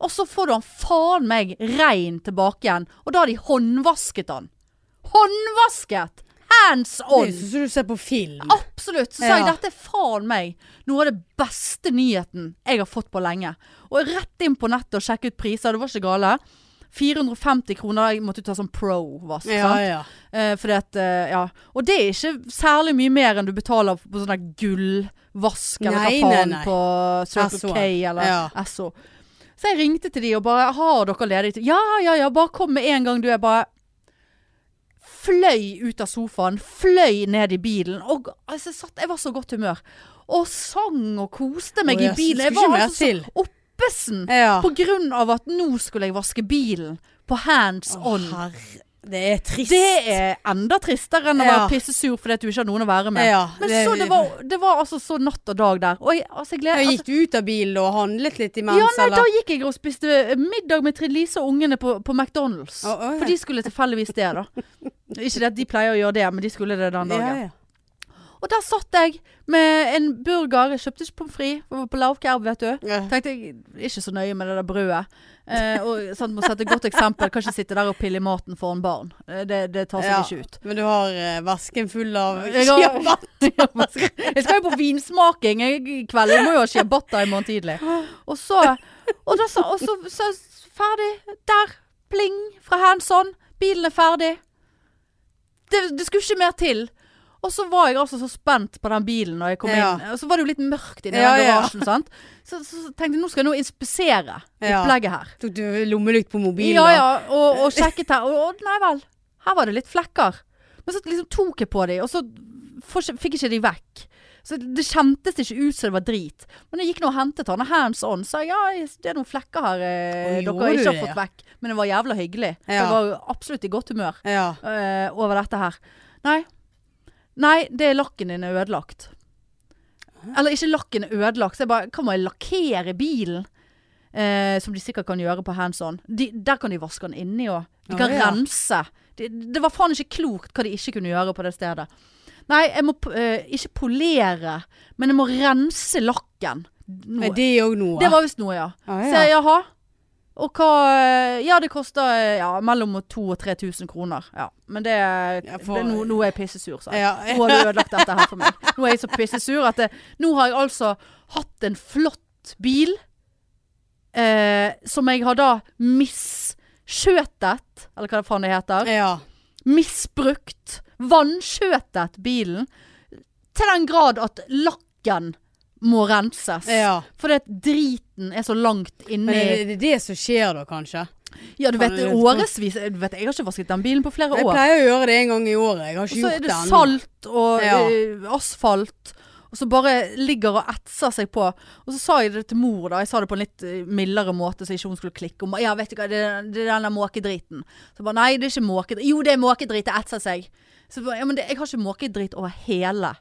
S1: og så får du han faen meg rein tilbake igjen. Og da har de håndvasket han. Håndvasket! Hands
S2: Det er
S1: on!
S2: jo sånn som du ser på film.
S1: Absolutt. Så sa jeg
S2: Ja.
S1: dette er faen meg noe av det beste nyheten jeg har fått på lenge. Og rett inn på nettet og sjekke ut priser, det var ikke gale. 450 kroner, jeg måtte jo ta sånn pro-vask.
S2: Ja,
S1: sant?
S2: ja.
S1: Eh, fordi at, eh, ja. Og det er ikke særlig mye mer enn du betaler på sånn der gullvask eller
S2: Nei,
S1: hva faen
S2: nei, nei.
S1: på Circle
S2: Esso.
S1: K eller
S2: Ja.
S1: Esso. Så jeg ringte til de og bare 'Har dere ledig tid?' 'Ja, ja, ja, bare kom med en gang, du.' Jeg bare fløy ut av sofaen, fløy ned i bilen. Og altså, jeg, satt, jeg var så godt humør. Og sang og koste meg
S2: Å,
S1: i
S2: jeg
S1: bilen. Jeg
S2: skulle ikke
S1: var
S2: mer
S1: altså
S2: til.
S1: så oppesen
S2: ja.
S1: på grunn av at nå skulle jeg vaske bilen på hands
S2: Å,
S1: on.
S2: herre Det er trist.
S1: Det er enda tristere enn å
S2: Ja.
S1: være pissesur fordi at du ikke har noen å være med.
S2: Ja,
S1: Men
S2: det-
S1: så det var, det var altså så natt og dag der. Og jeg, altså, jeg gleder altså,
S2: Ja, Gikk du ut av bilen og handlet litt imens,
S1: ja, nei, da
S2: eller?
S1: gikk jeg og spiste middag med Trine Lise og ungene på, på McDonald's.
S2: Å, å, ja.
S1: For de skulle tilfeldigvis det, da. Ikke det at de pleier å gjøre det, men de skulle det den dagen.
S2: ja.
S1: Og der satt jeg med en burger. Jeg kjøpte ikke pommes frites, for jeg var på lavkerv, vet du.
S2: Ja.
S1: Tenkte jeg ikke så nøye med det der brødet. Eh, og sant, Må sette et godt eksempel. Kan ikke sitte der og pille i maten foran barn. Eh, Det, det tar seg
S2: Ja,
S1: ikke ut.
S2: Men du har eh, vasken full av
S1: Jeg har-
S2: kebab.
S1: Jeg skal jo på vinsmaking jeg- i kveld. Jeg må jo ha ciabatta i morgen tidlig. Og så, og da, sa- og så, så ferdig. Der. Pling fra hands on. Bilen er ferdig. Det, det skulle ikke mer til. Og så var jeg altså så spent på den bilen når jeg kom
S2: Ja.
S1: inn. Og så var det jo litt mørkt i den
S2: Ja, ja.
S1: garasjen. Sant? Så, så, så tenkte jeg nå skal jeg nå inspisere
S2: Ja.
S1: opplegget her.
S2: Tok du lommelykt på mobilen?
S1: Ja,
S2: da?
S1: ja, og, og sjekket her. Og, og nei vel, her var det litt flekker. Men så liksom tok jeg på de, og så får ikke- fikk jeg ikke de vekk. Så det kjentes ikke ut som det var drit. Men jeg gikk nå og hentet han, og hands on, sa jeg, ja, det er noen flekker her eh,
S2: Og gjorde
S1: dere
S2: du
S1: ikke
S2: det,
S1: har fått vekk. Men det var jævla hyggelig. For
S2: Ja.
S1: Jeg var jo absolutt i godt humør
S2: Ja.
S1: eh, over dette her. Nei. Nei, det er lakken din er ødelagt. Eller ikke lakken er ødelagt, så jeg bare Kan man lakkere bilen? Eh, som de sikkert kan gjøre på hands on. De, der kan de vaske den inni òg. De kan
S2: Å, ja.
S1: rense. Det, det var faen ikke klokt hva de ikke kunne gjøre på det stedet. Nei, jeg må p- eh, ikke polere, men jeg må rense lakken. Nå-
S2: Nei, det er jo noe.
S1: det var visst noe, ja.
S2: Ah,
S1: Så
S2: ja.
S1: jeg, jaha. Og hva eh, Ja, det koster eh, ja, mellom 2000 og 3000 kroner. Ja. Men det,
S2: Ja, for-
S1: det nå, nå er jeg pissesur, sa jeg.
S2: Ja.
S1: Nå har du ødelagt dette her for meg. Nå eh, er jeg så pissesur at det, nå har jeg altså hatt en flott bil eh, som jeg har da misskjøtet, eller hva faen det heter,
S2: Ja.
S1: misbrukt, vannskjøtet bilen, til den grad at lakken må renses.
S2: ja.
S1: Fordi at driten er så langt
S2: Men
S1: inni
S2: er det det som skjer da, kanskje?
S1: Ja, du vet,
S2: Faen, jeg vet ikke.
S1: årevis du vet, Jeg har ikke vasket den bilen på flere
S2: Jeg
S1: år.
S2: pleier å gjøre det en gang i året. Jeg har
S1: Og
S2: ikke
S1: så
S2: gjort
S1: er
S2: det
S1: det
S2: ennå.
S1: salt og
S2: Ja.
S1: eh, asfalt. Og så bare ligger og etser seg på. Og så sa jeg det til mor, da. Jeg sa det på en litt eh, mildere måte, så ikke hun skulle klikke om. Ja, vet du hva, det, det er den der måkedriten. Så bare nei, det er ikke måkedrit. Jo, det er måkedrit, det etser seg. Så bare, ja, men det, jeg har ikke måkedrit over hele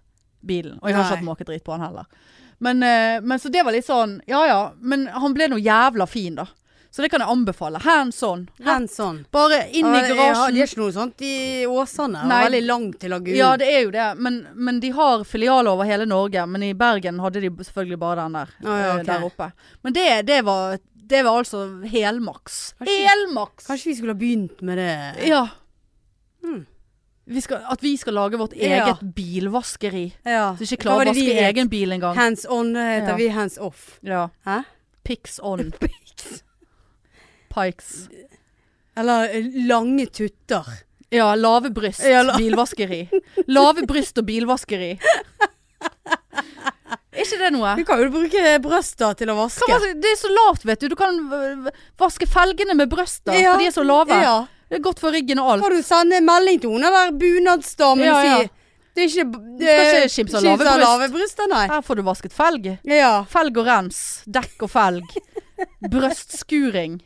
S1: bilen. Og jeg har
S2: Nei.
S1: ikke hatt måkedrit på han heller. Men, eh, men så det var litt sånn, ja ja. Men han ble nå jævla fin, da. Så det kan jeg anbefale. Hands on.
S2: Hands on.
S1: Bare inn i
S2: sånn. Ja, Ja,
S1: garasjen.
S2: det er ikke noe sånt i Åsane. Det
S1: Nei.
S2: er Veldig langt til Lagunen.
S1: Ja, det er jo det. Men, men de har filialer over hele Norge. Men i Bergen hadde de selvfølgelig bare den der,
S2: Å, ja,
S1: eh,
S2: ok.
S1: der oppe. Men det, det, var, det var altså helmaks.
S2: Kanskje-
S1: Helmaks!
S2: Kanskje vi skulle ha begynt med det?
S1: Ja.
S2: Hmm.
S1: Vi skal, at vi skal lage vårt
S2: Ja.
S1: eget bilvaskeri.
S2: Ja.
S1: Så ikke
S2: Hva var
S1: klarer å
S2: det de
S1: vaske
S2: het?
S1: egen bil engang.
S2: Hands on eh, heter
S1: Ja.
S2: vi hands off.
S1: Ja.
S2: Hæ?
S1: Pics on. Pikes.
S2: Eller eh, lange tutter.
S1: Ja, lave bryst.
S2: Ja, la-
S1: bilvaskeri. Lave bryst og bilvaskeri. Er ikke det noe?
S2: Du kan jo bruke brøsta til å
S1: Kan
S2: vaske.
S1: vaske- det er så lavt, vet du. Du kan øh, vaske felgene med brøster,
S2: Ja.
S1: for de er så lave.
S2: Ja.
S1: Det er godt for ryggen og alt.
S2: Kan du sende en melding til henne der bunadsdamen
S1: Ja,
S2: og si
S1: ja.
S2: Det er ikke
S1: Du skal ikke kimse av lave bryst.
S2: lave bryster, nei.
S1: Her får du vasket felg.
S2: Ja.
S1: Felg og rens. Dekk og felg. Brøstskuring.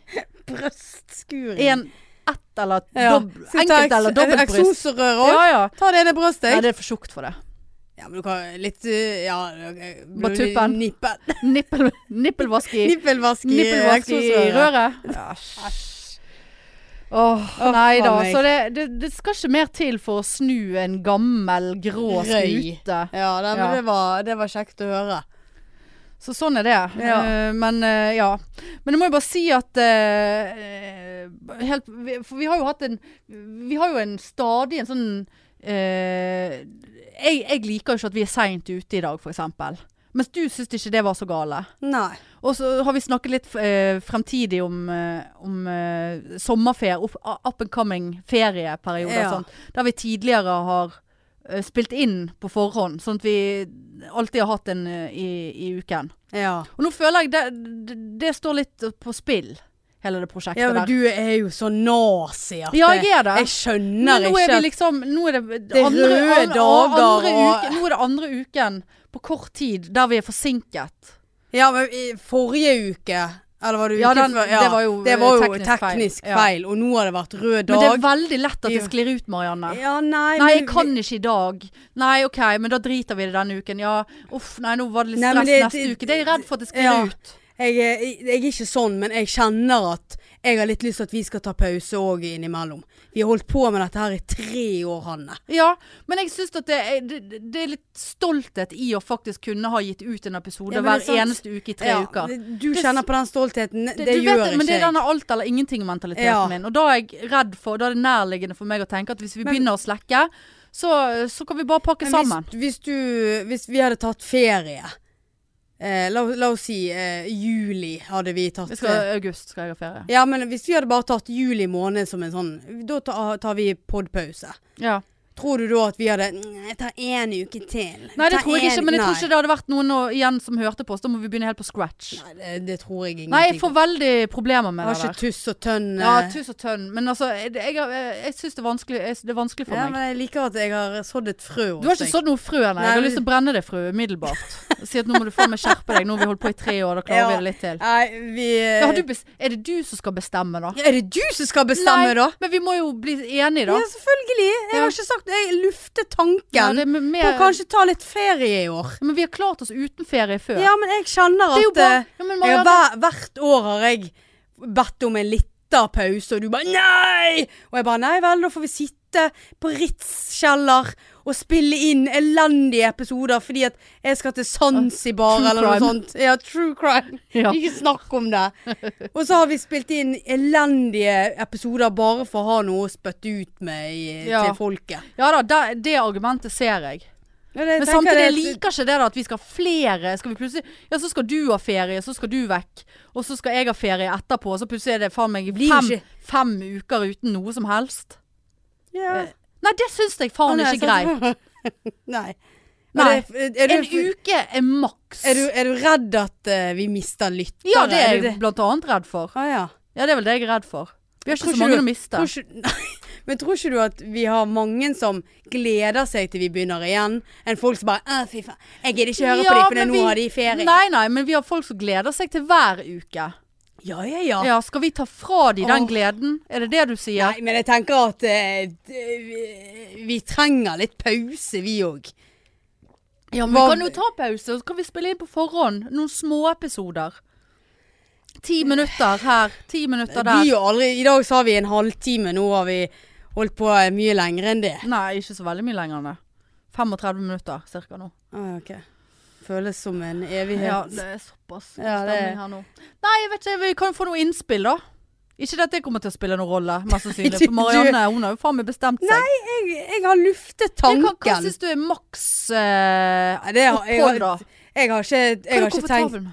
S2: Brøstskuring.
S1: En, ett eller
S2: Ja.
S1: dobb,
S2: Så ta
S1: enkelt
S2: eks-
S1: eller dobbelt bryst.
S2: Eksoserør òg.
S1: Ja, ja.
S2: Ta det ene brøstet.
S1: Nei,
S2: Ja,
S1: det er for tjukt for det.
S2: men du kan litt eh, Ja, eh,
S1: Bare tuppen.
S2: Nippen.
S1: Nippel, nippelvask i
S2: Nippelvask i
S1: Nippelvask i
S2: eksoserøret.
S1: røret. Æsj. Åh, nei da.
S2: faen meg.
S1: Så det, det, det skal ikke mer til for å snu en gammel, grå
S2: Røy.
S1: skute.
S2: Ja, nei, men
S1: Ja.
S2: Det, var, det var kjekt å høre.
S1: Så sånn er det.
S2: Ja.
S1: Eh, men eh, ja. Men jeg må jo bare si at eh, eh, helt, vi, For vi har jo hatt en Vi har jo en stadig en sånn eh, jeg, jeg liker jo ikke at vi er seint ute i dag, f.eks. Mens du syns ikke det var så gale.
S2: Nei.
S1: Og så har vi snakket litt eh, fremtidig om, eh, om eh, sommerferie, opp, up and coming ferieperiode
S2: Ja.
S1: og sånt. Der vi tidligere har eh, spilt inn på forhånd, sånn at vi alltid har hatt en eh, i, i uken.
S2: Ja.
S1: Og nå føler jeg det, det, det står litt på spill, hele det prosjektet
S2: ja, men
S1: der.
S2: du er jo så nazi at
S1: Ja, jeg er det.
S2: jeg skjønner
S1: Men nå er
S2: ikke
S1: vi
S2: at
S1: liksom Nå er det,
S2: Det er røde
S1: an-
S2: dager
S1: andre
S2: og-
S1: uke, Nå er det andre uken på kort tid der vi er forsinket.
S2: Ja, men i forrige uke Eller var det uken
S1: Ja, den-
S2: før?
S1: det var jo,
S2: det var
S1: eh,
S2: jo
S1: teknisk
S2: teknisk,
S1: feil. Ja.
S2: feil. Og nå har det vært rød
S1: Men det er
S2: dag.
S1: veldig lett at det
S2: Ja.
S1: sklir ut, Marianne.
S2: Ja, nei,
S1: Nei,
S2: men-
S1: jeg kan ikke i dag. Nei, OK, men da driter vi i det denne uken. Ja, uff, nei, nå var det litt
S2: Nei, men
S1: stress
S2: det-
S1: neste
S2: det-
S1: uke. Det er jeg redd for at det sklir
S2: Ja.
S1: ut.
S2: jeg, er- jeg er ikke sånn, men jeg kjenner at jeg har litt lyst til at vi skal ta pause òg innimellom. Vi har holdt på med dette her i tre år, Hanne.
S1: Ja, men jeg syns at det er, det, det er litt stolthet i å faktisk kunne ha gitt ut en episode
S2: Ja, men
S1: hver
S2: det er sant.
S1: eneste uke i tre
S2: Ja,
S1: uker.
S2: Du
S1: Det-
S2: kjenner på den stoltheten. Det,
S1: du
S2: gjør
S1: vet,
S2: ikke
S1: men det er
S2: jeg.
S1: denne alt eller ingenting-mentaliteten
S2: Ja.
S1: min. Og da er jeg redd for Da er det nærliggende for meg å tenke at hvis vi
S2: Men-
S1: begynner å slekke, så, så kan vi bare pakke
S2: Men
S1: sammen.
S2: Hvis, hvis, du, hvis vi hadde tatt ferie eh, la, la oss si eh, juli hadde vi tatt
S1: Vi skal, august skal jeg ha ferie.
S2: Ja, men hvis vi hadde bare tatt juli måned som en sånn Da ta- tar vi podpause.
S1: Ja.
S2: Tror du da at vi hadde "Mm, Jeg tar én uke til.
S1: Nei, det
S2: Ta
S1: tror jeg
S2: en-
S1: ikke. Men jeg tror
S2: Nei.
S1: ikke det hadde vært noen nå igjen som hørte på oss. Da må vi begynne helt på scratch.
S2: Nei, det, det tror jeg ingenting
S1: Nei, jeg får veldig problemer
S2: Jeg
S1: med
S2: har
S1: det
S2: ikke
S1: der.
S2: tuss og tønn.
S1: Ja,
S2: eh.
S1: tuss og tønn. Men altså, jeg, jeg, jeg, jeg syns det er vanskelig, jeg, det er vanskelig for
S2: Ja,
S1: meg.
S2: men jeg liker at jeg har sådd et frø hos
S1: Du har ikke
S2: deg.
S1: sådd noe frø, nei.
S2: Nei,
S1: Jeg har
S2: men-
S1: lyst til å brenne det frø umiddelbart. Si at nå må du faen meg skjerpe deg. Nå har vi holdt på i tre år, da klarer
S2: Ja.
S1: vi det litt til.
S2: Nei, vi
S1: Men har du bes er det du som skal bestemme, da?
S2: Ja, Er det du som skal bestemme,
S1: nei,
S2: da?
S1: Men vi må jo bli enige, da.
S2: Ja, selvfølgelig. Jeg
S1: Ja.
S2: har ikke sagt Jeg lufter
S1: Ja,
S2: tanken
S1: det er med-
S2: på å
S1: med-
S2: kanskje ta litt ferie i år.
S1: Men vi har klart oss uten ferie før.
S2: Ja, men jeg kjenner
S1: det er jo
S2: at
S1: bare
S2: eh,
S1: ja, men
S2: jeg
S1: Marianne,
S2: har, hver, hvert år har jeg bedt om en liten pause, og du bare nei! Og jeg bare nei vel, da får vi sitte på Ritz-kjeller og spille inn elendige episoder fordi at jeg skal til Zanzibar
S1: Ah, True
S2: eller noe
S1: crime.
S2: sånt. Ja, true crime.
S1: Ja.
S2: Ikke snakk om det. Og så har vi spilt inn elendige episoder bare for å ha noe å spytte ut med i,
S1: Ja.
S2: til folket.
S1: ja da, det, det argumentet ser jeg.
S2: Ja, det- jeg
S1: Men
S2: tenker
S1: samtidig, jeg
S2: det-
S1: liker ikke det da at vi skal ha flere. Skal vi plutselig Ja, så skal du ha ferie, så skal du vekk. Og så skal jeg ha ferie etterpå, og så plutselig er det faen meg
S2: Blir
S1: fem,
S2: ikke-
S1: fem uker uten noe som helst.
S2: Ja.
S1: Nei, det syns jeg faen
S2: Å, nei,
S1: ikke
S2: sant.
S1: greit.
S2: Nei.
S1: Nei.
S2: Er, det- er,
S1: En
S2: du,
S1: uke er maks.
S2: er, du, er du redd at eh, vi mister lyttere?
S1: Ja, det er jeg
S2: du
S1: jo blant annet redd for.
S2: Ah, ja.
S1: Ja, det er vel det jeg er redd for. Vi har ikke så
S2: Tror ikke
S1: mange
S2: du-
S1: å miste.
S2: Tror ikke, nei, men tror ikke du at vi har mange som gleder seg til vi begynner igjen, enn folk som bare «Å, 'Fy faen, jeg gidder ikke høre på
S1: Ja,
S2: dem, for det er
S1: men
S2: nå
S1: vi-
S2: har de ferie'.
S1: Nei, nei, men vi har folk som gleder seg til hver uke.
S2: Ja, ja, ja.
S1: Ja, skal vi ta fra de den
S2: Åh.
S1: gleden? Er det det du sier?
S2: Nei, men jeg tenker at eh, d- vi, vi trenger litt pause, vi òg.
S1: Ja, men vi kan jo ta pause, og så kan vi spille inn på forhånd noen småepisoder. Ti minutter her, ti minutter
S2: Vi
S1: der.
S2: jo aldri I dag sa vi en halvtime, nå har vi holdt på eh, mye lenger enn det.
S1: Nei, ikke så veldig mye lenger enn det. 35 minutter cirka nå.
S2: Ah, ok. Føles som en
S1: Ja,
S2: evighet.
S1: det er såpass god
S2: Ja, det-
S1: stemning her nå. Nei, jeg vet ikke, vi kan jo få noe innspill da. Ikke at det kommer til å spille noen rolle, mest sannsynlig.
S2: du-
S1: For Marianne, hun har jo faen meg bestemt seg. Nei,
S2: jeg, jeg har luftet
S1: Hva, hva
S2: tanken.
S1: synes du er maks eh,
S2: Nei, det har- jeg har-
S1: opphold da?
S2: Jeg har ikke,
S1: Hva
S2: jeg
S1: er
S2: har
S1: du
S2: ikke tenkt
S1: komfortabel med?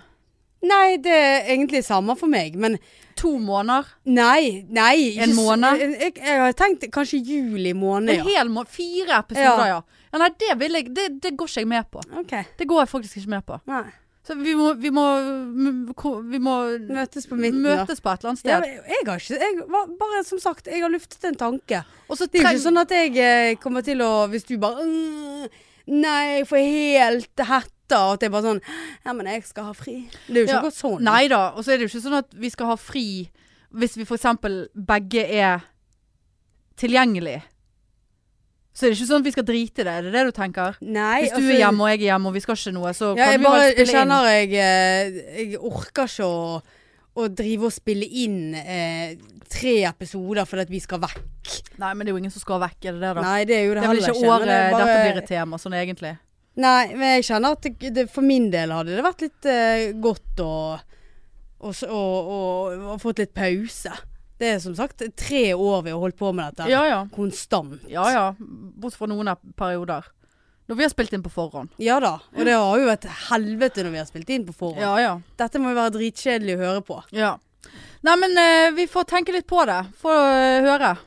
S2: Nei, det er egentlig samme for meg, men
S1: To måneder?
S2: nei. nei ikke
S1: En
S2: s-
S1: måned?
S2: Jeg, jeg har tenkt kanskje juli måned,
S1: En
S2: ja.
S1: hel måned? Fire episoder, ja. ja. Nei, det, vil jeg, det, det går ikke jeg med på.
S2: Ok,
S1: Det går jeg faktisk ikke med på.
S2: nei.
S1: Så vi må, vi må, m- ko- vi må
S2: Møtes på midten, da.
S1: møtes på et eller annet sted.
S2: Ja, men jeg har ikke jeg, var- Bare som sagt, jeg har luftet en tanke.
S1: Og så
S2: Det er jo
S1: treng-
S2: ikke sånn at jeg eh, kommer til å Hvis du bare «Mm, Nei, jeg får helt hetta. og At jeg bare sånn Ja, men jeg skal ha fri. Det er jo ikke
S1: Ja.
S2: akkurat sånn.
S1: Nei da. Og så er det jo ikke sånn at vi skal ha fri hvis vi f.eks. begge er tilgjengelige. Så er det ikke sånn at vi skal drite i det. Er det det du tenker?
S2: Nei,
S1: Hvis du
S2: altså-
S1: er hjemme og jeg er hjemme og vi skal ikke noe, så
S2: Ja,
S1: kan
S2: jeg
S1: vi bare
S2: bare
S1: spille inn.
S2: kjenner jeg, eh, jeg orker ikke å, å drive og spille inn eh, tre episoder fordi at vi skal vekk.
S1: Nei, men det er jo ingen som skal vekk, er det det da?
S2: Nei, det er jo det,
S1: det er vel
S2: heller
S1: ikke året
S2: men det er bare-
S1: dette blir et tema, sånn egentlig.
S2: Nei, men jeg kjenner at det, det, for min del hadde det vært litt eh, godt å å s- å- å- å fått litt pause. Det er som sagt tre år vi har holdt på med dette.
S1: Ja ja.
S2: Konstant.
S1: Ja ja. Bortsett fra noen ep- perioder. Når vi har spilt inn på forhånd.
S2: Ja da. Og det har jo vært helvete når vi har spilt inn på forhånd.
S1: Ja ja.
S2: Dette må jo være dritkjedelig å høre på.
S1: Ja. Nei, men eh, vi får tenke litt på det. Få eh, høre.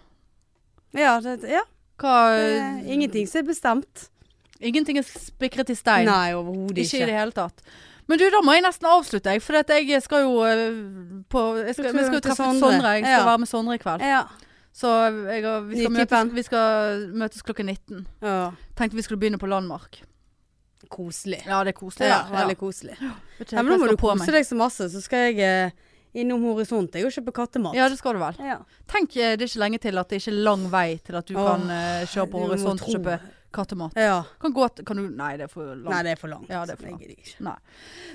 S2: Ja, det, ja.
S1: Hva
S2: Eh, ingenting som er bestemt.
S1: Ingenting er spikret i stein.
S2: Nei, overhodet
S1: ikke. i
S2: ikke.
S1: det hele tatt. Men du, da må jeg nesten avslutte, jeg. For at jeg skal jo eh, på Jeg skal,
S2: Du skal
S1: jeg skal jo
S2: til
S1: treffe
S2: Sondre.
S1: Sondre. Jeg skal
S2: Ja.
S1: være med Sondre i kveld.
S2: Ja.
S1: Så jeg, har- vi, skal
S2: Nytt i
S1: møtes,
S2: band.
S1: vi skal møtes klokken 19.
S2: ja.
S1: Tenkte vi skulle begynne på Landmark.
S2: Koselig.
S1: Ja, det er koselig.
S2: Ja,
S1: da.
S2: veldig koselig.
S1: Vet ikke
S2: Ja,
S1: helt
S2: men nå
S1: hva
S2: må
S1: jeg skal
S2: du
S1: på
S2: kose
S1: meg.
S2: deg så masse, så skal jeg eh, innom Horisont jeg, og kjøpe kattemat.
S1: Ja, det skal du vel.
S2: Ja.
S1: Tenk, eh, det er ikke lenge til at det er ikke lang vei til at du
S2: Åh,
S1: kan eh, kjøre
S2: du
S1: på
S2: må
S1: Horisont og
S2: tro.
S1: kjøpe kattemat.
S2: ja.
S1: Kan gå til Kan du Nei, det er for langt.
S2: Nei, det er for langt.
S1: Ja, det er for langt.
S2: Jeg gidder ikke.
S1: Nei.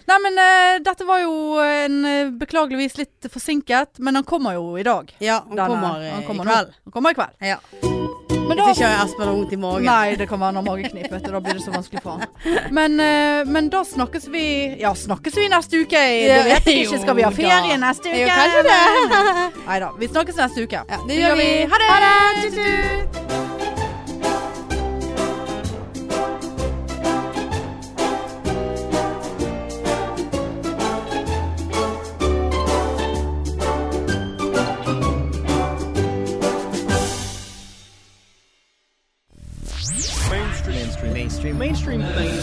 S1: Nei, men eh, dette var jo en eh, beklageligvis litt forsinket, men han kommer jo i dag.
S2: Ja, han
S1: Denne-
S2: kommer, eh,
S1: han kommer
S2: i kveld.
S1: Nå. Han kommer i kveld.
S2: Ja.
S1: Men
S2: Hvis
S1: da
S2: ikke har Espen vondt i magen.
S1: Nei, det kan være han har mageknip, vet du. Da blir det så vanskelig for han. Men, eh, men da snakkes vi Ja, snakkes vi neste uke? Det vet jeg ikke. Skal vi ha ferie neste uke?
S2: Jo, kanskje det.
S1: Nei da. Vi snakkes neste uke.
S2: Ja, det gjør vi.
S1: Ha det!
S2: Tut, tut.
S3: mainstream mainstream mainstream mainstream